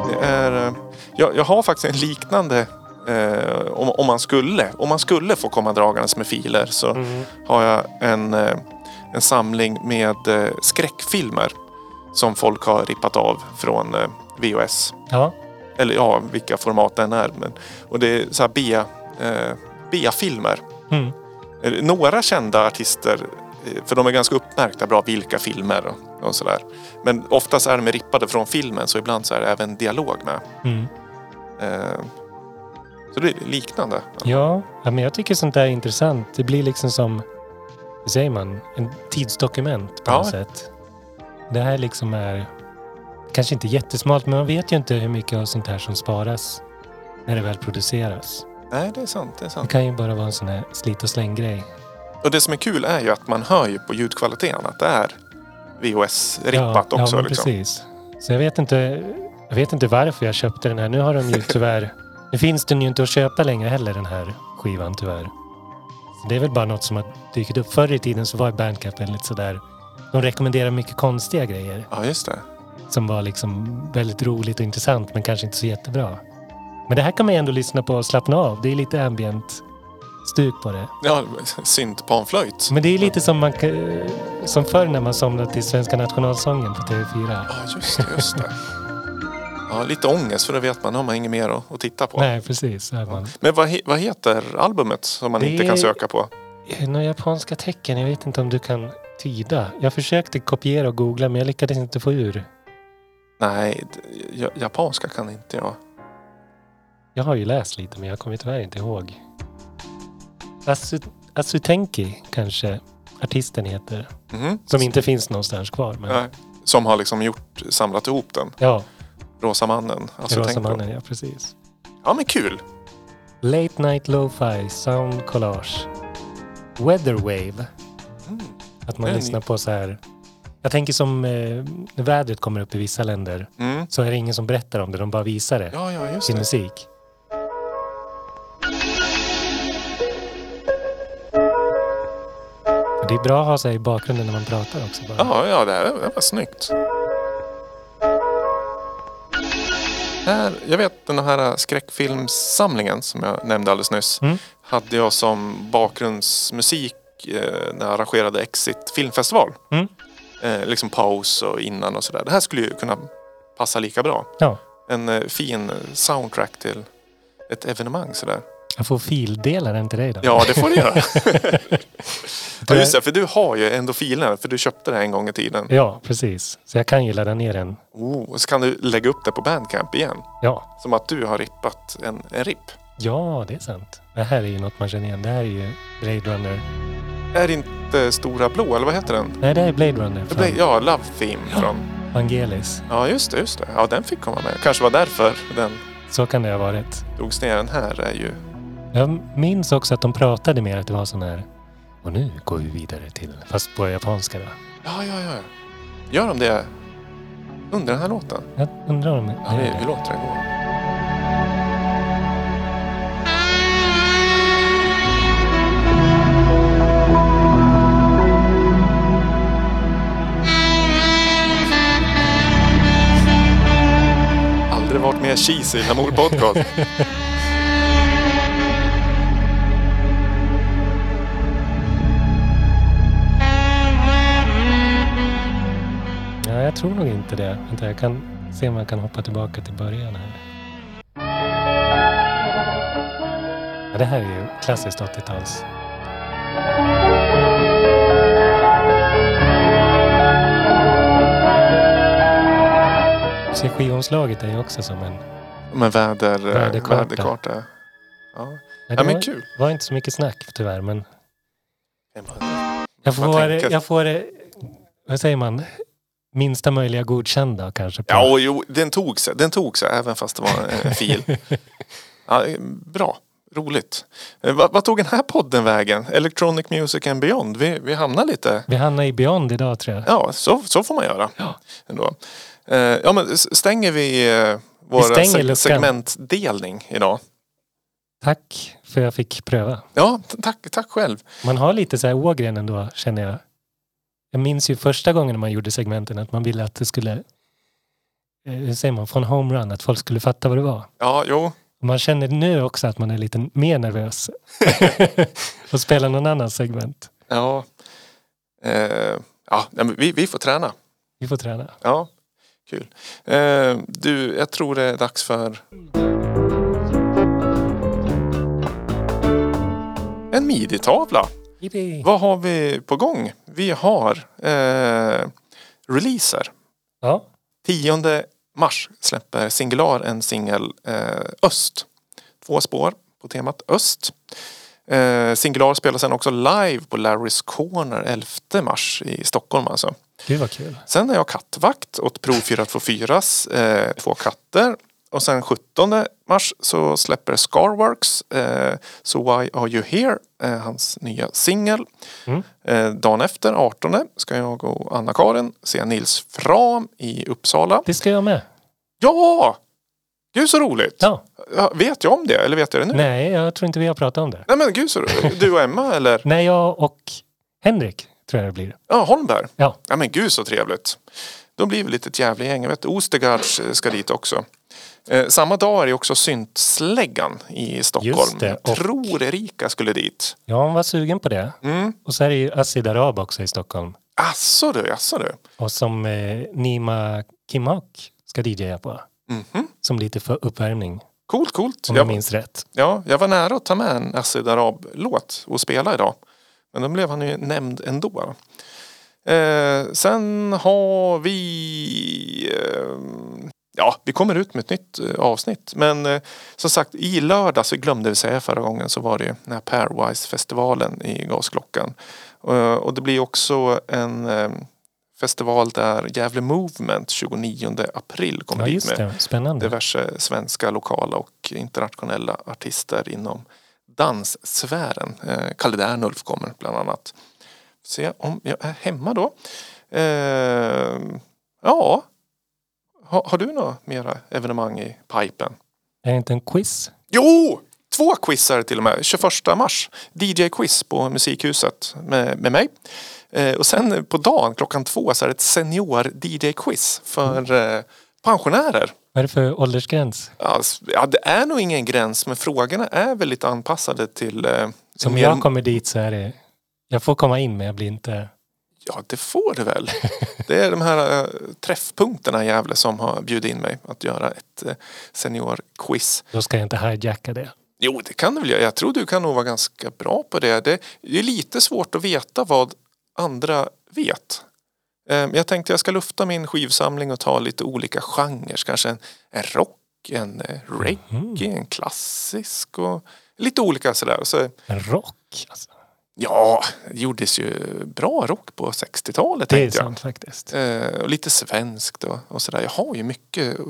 Speaker 1: Det är, eh, jag, jag har faktiskt en liknande eh, om, om, man skulle, om man skulle få komma dragandes med filer så
Speaker 2: Mm.
Speaker 1: har jag en, eh, en samling med eh, skräckfilmer som folk har rippat av från eh, VHS
Speaker 2: ja,
Speaker 1: eller ja, vilka format den är. Men, och det är så här bea, eh, bea-filmer.
Speaker 2: Mm.
Speaker 1: Eh, Några kända artister, eh, för de är ganska uppmärkta bra vilka filmer och, och sådär. Men oftast är de rippade från filmen så ibland så är det även dialog med.
Speaker 2: mm.
Speaker 1: Eh, så det är liknande.
Speaker 2: ja. ja, men jag tycker sånt där är intressant. Det blir liksom som, hur säger man, en tidsdokument på
Speaker 1: Ja.
Speaker 2: något sätt. Det här liksom är, kanske inte jättesmalt, men man vet ju inte hur mycket av sånt här som sparas när det väl produceras.
Speaker 1: Nej, det är sant. Det är
Speaker 2: Det
Speaker 1: sant.
Speaker 2: kan ju bara vara en sån här slit och släng-grej.
Speaker 1: Och det som är kul är ju att man hör ju på ljudkvaliteten att det är VHS-rippat
Speaker 2: ja,
Speaker 1: också.
Speaker 2: Ja, men
Speaker 1: liksom.
Speaker 2: precis. Så jag vet, inte, jag vet inte varför jag köpte den här. Nu har de ju tyvärr... nu finns den ju inte att köpa längre heller, den här skivan tyvärr. Så det är väl bara något som har dykt upp. Förr i tiden så var Bandcamp väldigt sådär... De rekommenderar mycket konstiga grejer
Speaker 1: Ja, just det.
Speaker 2: som var liksom väldigt roligt och intressant men kanske inte så jättebra. Men det här kan man ju ändå lyssna på och slappna av. Det är lite ambient stuk på det.
Speaker 1: Ja, syntpanflöjt.
Speaker 2: Men det är lite som, man, kan- som förr när man somnade till svenska nationalsången på TV4.
Speaker 1: Ja, just det. Just det. Ja, lite ångest för då vet man, har man inget mer att, att titta på.
Speaker 2: Nej, precis. så Är man.
Speaker 1: Men vad, he, vad heter albumet som man
Speaker 2: Det
Speaker 1: inte kan
Speaker 2: är-
Speaker 1: söka på?
Speaker 2: Eh, Några japanska tecken, jag vet inte om du kan tyda. Jag försökte kopiera och googla men jag lyckades inte få ur.
Speaker 1: Nej, d- ja- japanska kan inte jag.
Speaker 2: Jag har ju läst lite men jag kommer tyvärr inte ihåg. Asu, Asutenki kanske artisten heter.
Speaker 1: Mhm.
Speaker 2: Som inte finns någonstans kvar. Men,
Speaker 1: Nej. Som har liksom gjort, samlat ihop den.
Speaker 2: Ja,
Speaker 1: Rosa mannen. Alltså, tänk
Speaker 2: Rosa
Speaker 1: på-
Speaker 2: mannen, ja precis.
Speaker 1: Ja, men kul.
Speaker 2: Late Night Lo-Fi Sound Collage. Weather Wave. Att man
Speaker 1: Den-
Speaker 2: lyssnar på så här. Jag tänker som eh, när vädret kommer upp i vissa länder.
Speaker 1: Mm.
Speaker 2: så är det ingen som berättar om det, de bara visar det
Speaker 1: Ja, ja, just
Speaker 2: i
Speaker 1: det.
Speaker 2: musik. Det är bra att ha sig i bakgrunden när man pratar också. Bara.
Speaker 1: Ja, ja, det här det var snyggt. Här, jag vet den här skräckfilmssamlingen som jag nämnde alldeles nyss.
Speaker 2: Mm.
Speaker 1: Hade jag som bakgrundsmusik eh, när jag arrangerade Exit filmfestival.
Speaker 2: Mm.
Speaker 1: Eh, liksom paus och innan och sådär. Det här skulle ju kunna passa lika bra.
Speaker 2: Ja.
Speaker 1: En eh, fin soundtrack till ett evenemang sådär.
Speaker 2: Jag får fildela den till dig då.
Speaker 1: Ja, det får du göra. ja,
Speaker 2: Du-
Speaker 1: just det, för du har ju ändå filen. För du köpte det här en gång i tiden.
Speaker 2: ja, precis. Så jag kan ju ladda ner den.
Speaker 1: Oh, och så kan du lägga upp det på Bandcamp igen.
Speaker 2: Ja,
Speaker 1: Som att du har rippat en, en ripp.
Speaker 2: ja det är sant. Det här är ju något man känner igen. Det här är ju Blade Runner.
Speaker 1: Är det inte Stora Blå, eller vad heter den?
Speaker 2: Nej, det här är Blade Runner
Speaker 1: Det
Speaker 2: från
Speaker 1: blev, ja, Love Theme från...
Speaker 2: Vangelis.
Speaker 1: Ja, just det, just det. Ja, den fick komma med. Kanske var därför den
Speaker 2: Så kan det ha varit.
Speaker 1: drogs ner. Den här är ju
Speaker 2: Jag minns också att de pratade mer att det var sån här... Och nu går vi vidare till... Fast på japanska då.
Speaker 1: Ja, ja, ja. Gör de det under den här låten?
Speaker 2: Jag undrar om...
Speaker 1: Ja, vi, vi låter den gå. Aldrig varit mer cheesy i Lamour Podcast.
Speaker 2: Ja, jag tror nog inte det. Vänta, jag kan se om jag kan hoppa tillbaka till början här. Ja, det här är ju klassiskt 80-tals. Du ser skivomslaget är ju också som en...
Speaker 1: Med väder, väderkarta.
Speaker 2: Väderkarta.
Speaker 1: väderkarta. Ja.
Speaker 2: Ja,
Speaker 1: ja,
Speaker 2: det
Speaker 1: men
Speaker 2: var,
Speaker 1: kul.
Speaker 2: var inte så mycket snack tyvärr, men jag
Speaker 1: Man
Speaker 2: får,
Speaker 1: tänker-
Speaker 2: jag får... eh, Vad säger man? Minsta möjliga godkända kanske. På.
Speaker 1: Ja, och jo, den tog sig. Den tog sig även fast det var en fil. Ja, eh, bra. Roligt. Eh, Vad vad tog den här podden vägen? Electronic Music and Beyond. Vi, vi hamnar lite...
Speaker 2: Vi hamnar i Beyond idag tror jag.
Speaker 1: Ja, så, så får man göra.
Speaker 2: Ja.
Speaker 1: Ändå. Eh, Ja, men s- stänger vi eh, vår
Speaker 2: stänger
Speaker 1: se-
Speaker 2: luckan.
Speaker 1: segmentdelning idag?
Speaker 2: Tack för jag fick pröva.
Speaker 1: Ja, t- tack, tack själv.
Speaker 2: Man har lite så här Ågren ändå känner jag. Jag minns ju första gången man gjorde segmenten att man ville att det skulle, eh, hur säger man, från homerun, att folk skulle fatta vad det var.
Speaker 1: Ja, jo.
Speaker 2: Och Man känner nu också att man är lite mer nervös och spelar någon annan segment.
Speaker 1: Ja, eh, ja nej, men vi, vi får träna.
Speaker 2: Vi får träna.
Speaker 1: Ja, kul. Eh, du, jag tror det är dags för... En miditavla.
Speaker 2: Yippee.
Speaker 1: Vad har vi på gång? Vi har eh, releaser.
Speaker 2: Ja,
Speaker 1: 10 mars släpper Singular en singel eh, Öst. Två spår på temat Öst. Eh, Singular spelar sen också live på Larrys Corner 11 mars i Stockholm alltså.
Speaker 2: gud vad kul.
Speaker 1: Sen är jag kattvakt åt Prov 424s eh, två katter. Och sen 17 mars så släpper Scarworks eh, So Why Are You Here, eh, hans nya singel.
Speaker 2: Mm.
Speaker 1: Eh, dagen efter, 18, ska jag och Anna-Karin se Nils Fram i Uppsala.
Speaker 2: Det ska jag med.
Speaker 1: Ja! Gud så roligt!
Speaker 2: Ja.
Speaker 1: Ja, Vet jag om det eller vet jag det nu? Nej,
Speaker 2: Nej, jag tror inte vi har pratat om det.
Speaker 1: men gud så roligt. Du och Emma eller?
Speaker 2: Nej, jag och Henrik tror jag det blir.
Speaker 1: Ja, Holmberg.
Speaker 2: Ja.
Speaker 1: Ja men gud så trevligt. Då blir vi lite ett jävla gäng. Jag vet Ostergaards eh, ska dit också. Eh, samma dag är det också Syntsläggan i Stockholm.
Speaker 2: Just det,
Speaker 1: Jag
Speaker 2: och-
Speaker 1: tror Erika skulle dit.
Speaker 2: Ja, hon var sugen på det.
Speaker 1: Mm.
Speaker 2: Och så är det ju Assi Darab också i Stockholm.
Speaker 1: Asså du, asså du.
Speaker 2: Och som eh, Nima Kimhak ska DJa på.
Speaker 1: Mhm.
Speaker 2: Som lite för uppvärmning,
Speaker 1: Coolt, coolt.
Speaker 2: om jag
Speaker 1: Jag,
Speaker 2: minns rätt.
Speaker 1: ja, jag var nära att ta med en Assid Arab-låt och spela idag. Men då blev han ju nämnd ändå. Eh, sen har vi... Eh, ja, vi kommer ut med ett nytt eh, avsnitt. Men eh, som sagt, i lördags, vi glömde vi säga förra gången, så var det ju den här Pairwise-festivalen i Gasklockan. Eh, och det blir också en eh, festival där Gävle Movement 29 april kommer
Speaker 2: Ja,
Speaker 1: dit med
Speaker 2: just det. Spännande.
Speaker 1: diverse svenska, lokala och internationella artister inom danssfären. Eh, Kalle Dernulf kommer bland annat. Se om jag är hemma då. Eh, ja. Ha, har du några mera evenemang i pipen?
Speaker 2: Är det inte en quiz?
Speaker 1: Jo! Två quizar till och med. 21 mars. DJ-quiz på Musikhuset med, med mig. Eh, och sen på dagen klockan två så är det ett senior-DJ-quiz för eh, pensionärer.
Speaker 2: Vad är det för åldersgräns?
Speaker 1: Alltså, ja, det är nog ingen gräns men frågorna är väl lite anpassade till... Eh,
Speaker 2: Som
Speaker 1: mer-
Speaker 2: jag kommer dit så är det... Jag får komma in men jag blir inte...
Speaker 1: Ja, det får du väl. det är de här eh, träffpunkterna i Gävle som har bjudit in mig att göra ett eh, seniorquiz.
Speaker 2: Då ska jag inte hijacka det.
Speaker 1: Jo, det kan du väl göra. Jag tror du kan nog vara ganska bra på det. Det det är lite svårt att veta vad andra vet. Eh, men jag tänkte jag ska lufta min skivsamling och ta lite olika genrer. Kanske en, en rock, en eh, reggae, en klassisk och lite olika sådär. Så,
Speaker 2: En rock, alltså.
Speaker 1: Ja, det gjordes ju bra rock på 60-talet
Speaker 2: Det är
Speaker 1: tänkte jag.
Speaker 2: sant faktiskt.
Speaker 1: Eh, och lite svenskt och, och sådär. Jag har ju mycket eh,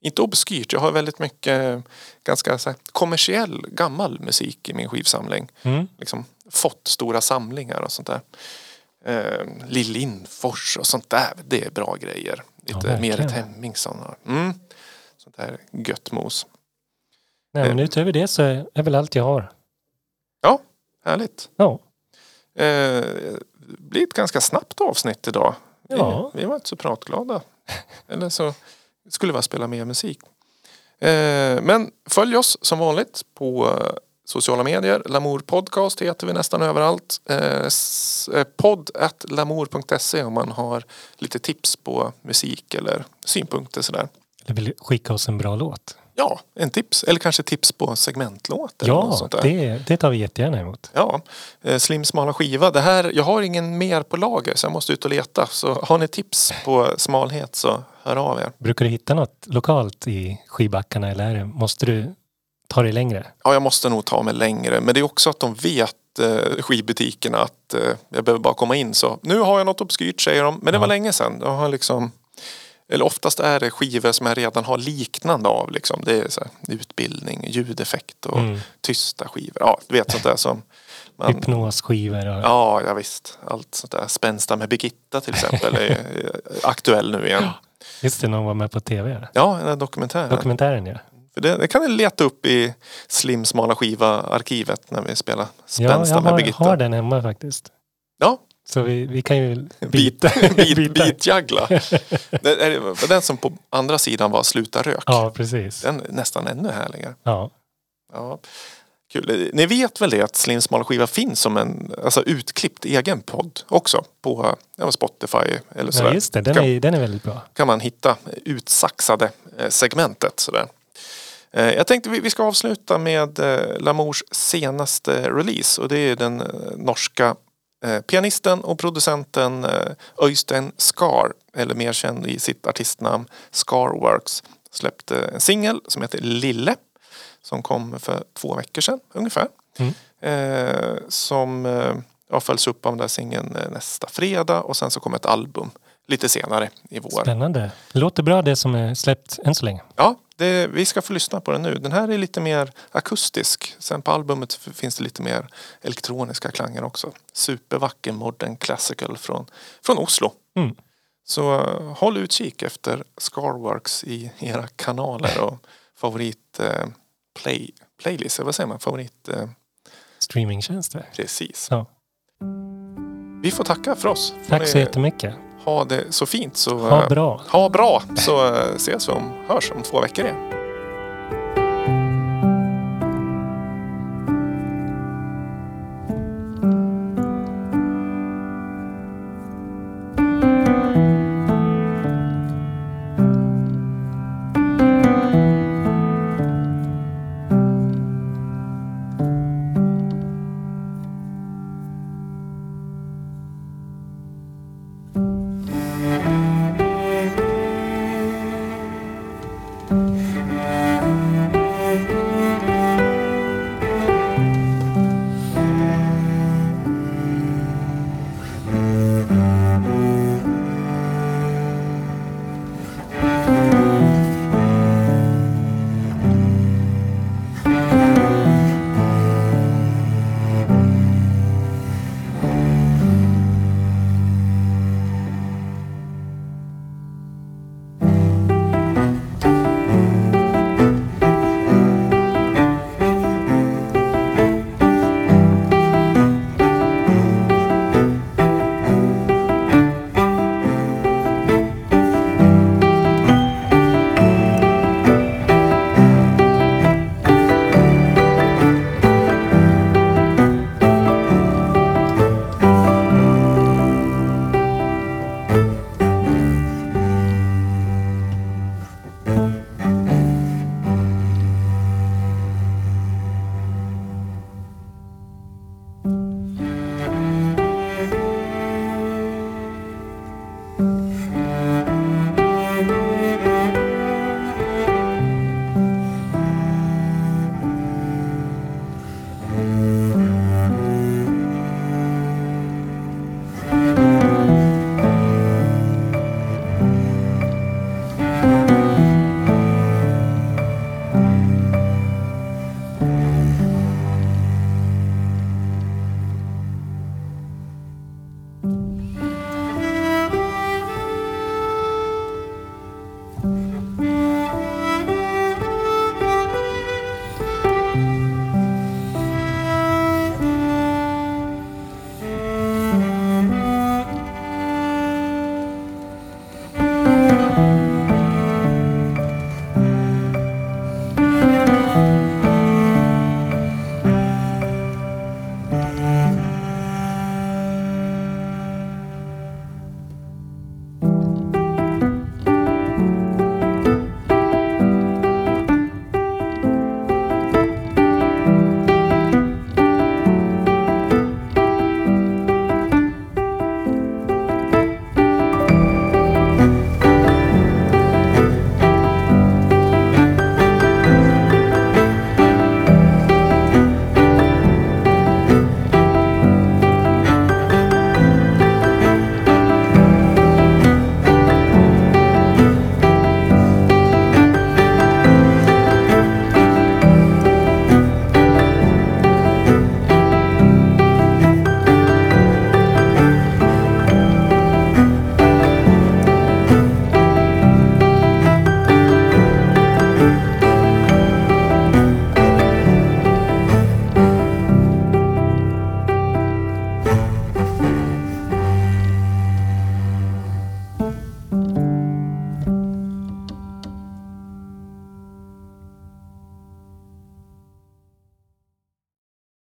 Speaker 1: inte obskyrt, jag har väldigt mycket eh, ganska så här, kommersiell gammal musik i min skivsamling.
Speaker 2: Mm.
Speaker 1: Liksom, fått stora samlingar och sånt där. Eh, Lill Lindfors och sånt där, det är bra grejer. Lite
Speaker 2: verkligen.
Speaker 1: Merit Hemmingsson och mm, sånt där gött mos.
Speaker 2: Nej, men utöver det så är väl allt jag har.
Speaker 1: Härligt.
Speaker 2: Ja,
Speaker 1: Eh, det blir ett ganska snabbt avsnitt idag.
Speaker 2: Ja.
Speaker 1: Vi, vi var inte så pratglada. Eller så skulle vi bara spela mer musik. Eh, men följ oss som vanligt på eh, sociala medier. Lamour Podcast heter vi nästan överallt. Eh, s- eh, podd at lamour.se om man har lite tips på musik eller synpunkter sådär.
Speaker 2: eller vill skicka oss en bra låt.
Speaker 1: Ja, en tips. Eller kanske tips på segmentlåt. Eller något
Speaker 2: Ja,
Speaker 1: sånt där.
Speaker 2: det, det tar vi jättegärna emot.
Speaker 1: Ja, eh, slim smala skiva. Det här, jag har ingen mer på lager så jag måste ut och leta. Så har ni tips på smalhet så hör av er.
Speaker 2: Brukar du hitta något lokalt i skibackarna eller är det- måste du ta dig längre?
Speaker 1: Ja, jag måste nog ta mig längre. Men det är också att de vet eh, skibutikerna att eh, jag behöver bara komma in. Så nu har jag något obskyrt säger de. Men det var
Speaker 2: Ja.
Speaker 1: länge sedan. Jag har liksom, eller oftast är det skivor som jag redan har liknande av. Liksom. Det är så här, utbildning, ljudeffekt och
Speaker 2: Mm.
Speaker 1: tysta skivor. Ja, du vet sånt där som man
Speaker 2: Hypnosskivor och...
Speaker 1: Ja, ja visst. Allt sånt där. Spänsta med Birgitta till exempel är är aktuell nu igen.
Speaker 2: Visst är någon var med på tv?
Speaker 1: Ja, den här dokumentären.
Speaker 2: Dokumentären ja.
Speaker 1: För det, det kan ni leta upp i Slim smala skiva-arkivet när vi spelar
Speaker 2: Ja,
Speaker 1: Spänsta
Speaker 2: jag
Speaker 1: med
Speaker 2: har,
Speaker 1: Birgitta.
Speaker 2: har den hemma faktiskt.
Speaker 1: Ja,
Speaker 2: Så vi, vi kan ju
Speaker 1: bit,
Speaker 2: byta.
Speaker 1: bit,
Speaker 2: byta.
Speaker 1: bitjaggla. Det är- det var den som på andra sidan var Sluta rök.
Speaker 2: Ja, precis.
Speaker 1: Den är nästan ännu härligare.
Speaker 2: Ja.
Speaker 1: Ja. Kul. Ni vet väl det att Slim smala skiva finns som en alltså, utklippt egen podd också på ja, Spotify eller sådär.
Speaker 2: ja, just det. Den
Speaker 1: Kan-
Speaker 2: är, den är väldigt bra.
Speaker 1: kan man hitta utsaxade eh, segmentet. Sådär. Eh, Jag tänkte vi vi ska avsluta med eh, Lamours senaste release och det är den eh, norska eh, pianisten och producenten eh, Øystein Skar eller mer känd i sitt artistnamn Scarworks släppte en singel som heter Lille som kom för två veckor sedan ungefär.
Speaker 2: Mm.
Speaker 1: Eh, som eh, ja, följs upp av den där singeln eh, nästa fredag och sen så kommer ett album lite senare i vår.
Speaker 2: Spännande. Låter bra det som är släppt än så länge.
Speaker 1: Ja, det, vi ska få lyssna på den nu. Den här är lite mer akustisk. Sen på albumet f- finns det lite mer elektroniska klanger också. Supervacker modern classical från, från Oslo.
Speaker 2: Mm.
Speaker 1: Så eh, håll utkik efter Scarworks i era kanaler och favorit eh, play, playlist, eller vad säger man? Favorit, eh,
Speaker 2: Streamingtjänster.
Speaker 1: precis.
Speaker 2: Ja.
Speaker 1: Vi får tacka för oss. Får
Speaker 2: Tack så
Speaker 1: ni
Speaker 2: jättemycket.
Speaker 1: Ha det så fint. Så,
Speaker 2: Ha
Speaker 1: eh,
Speaker 2: bra.
Speaker 1: Ha bra, så eh, ses vi om, hörs om två veckor igen.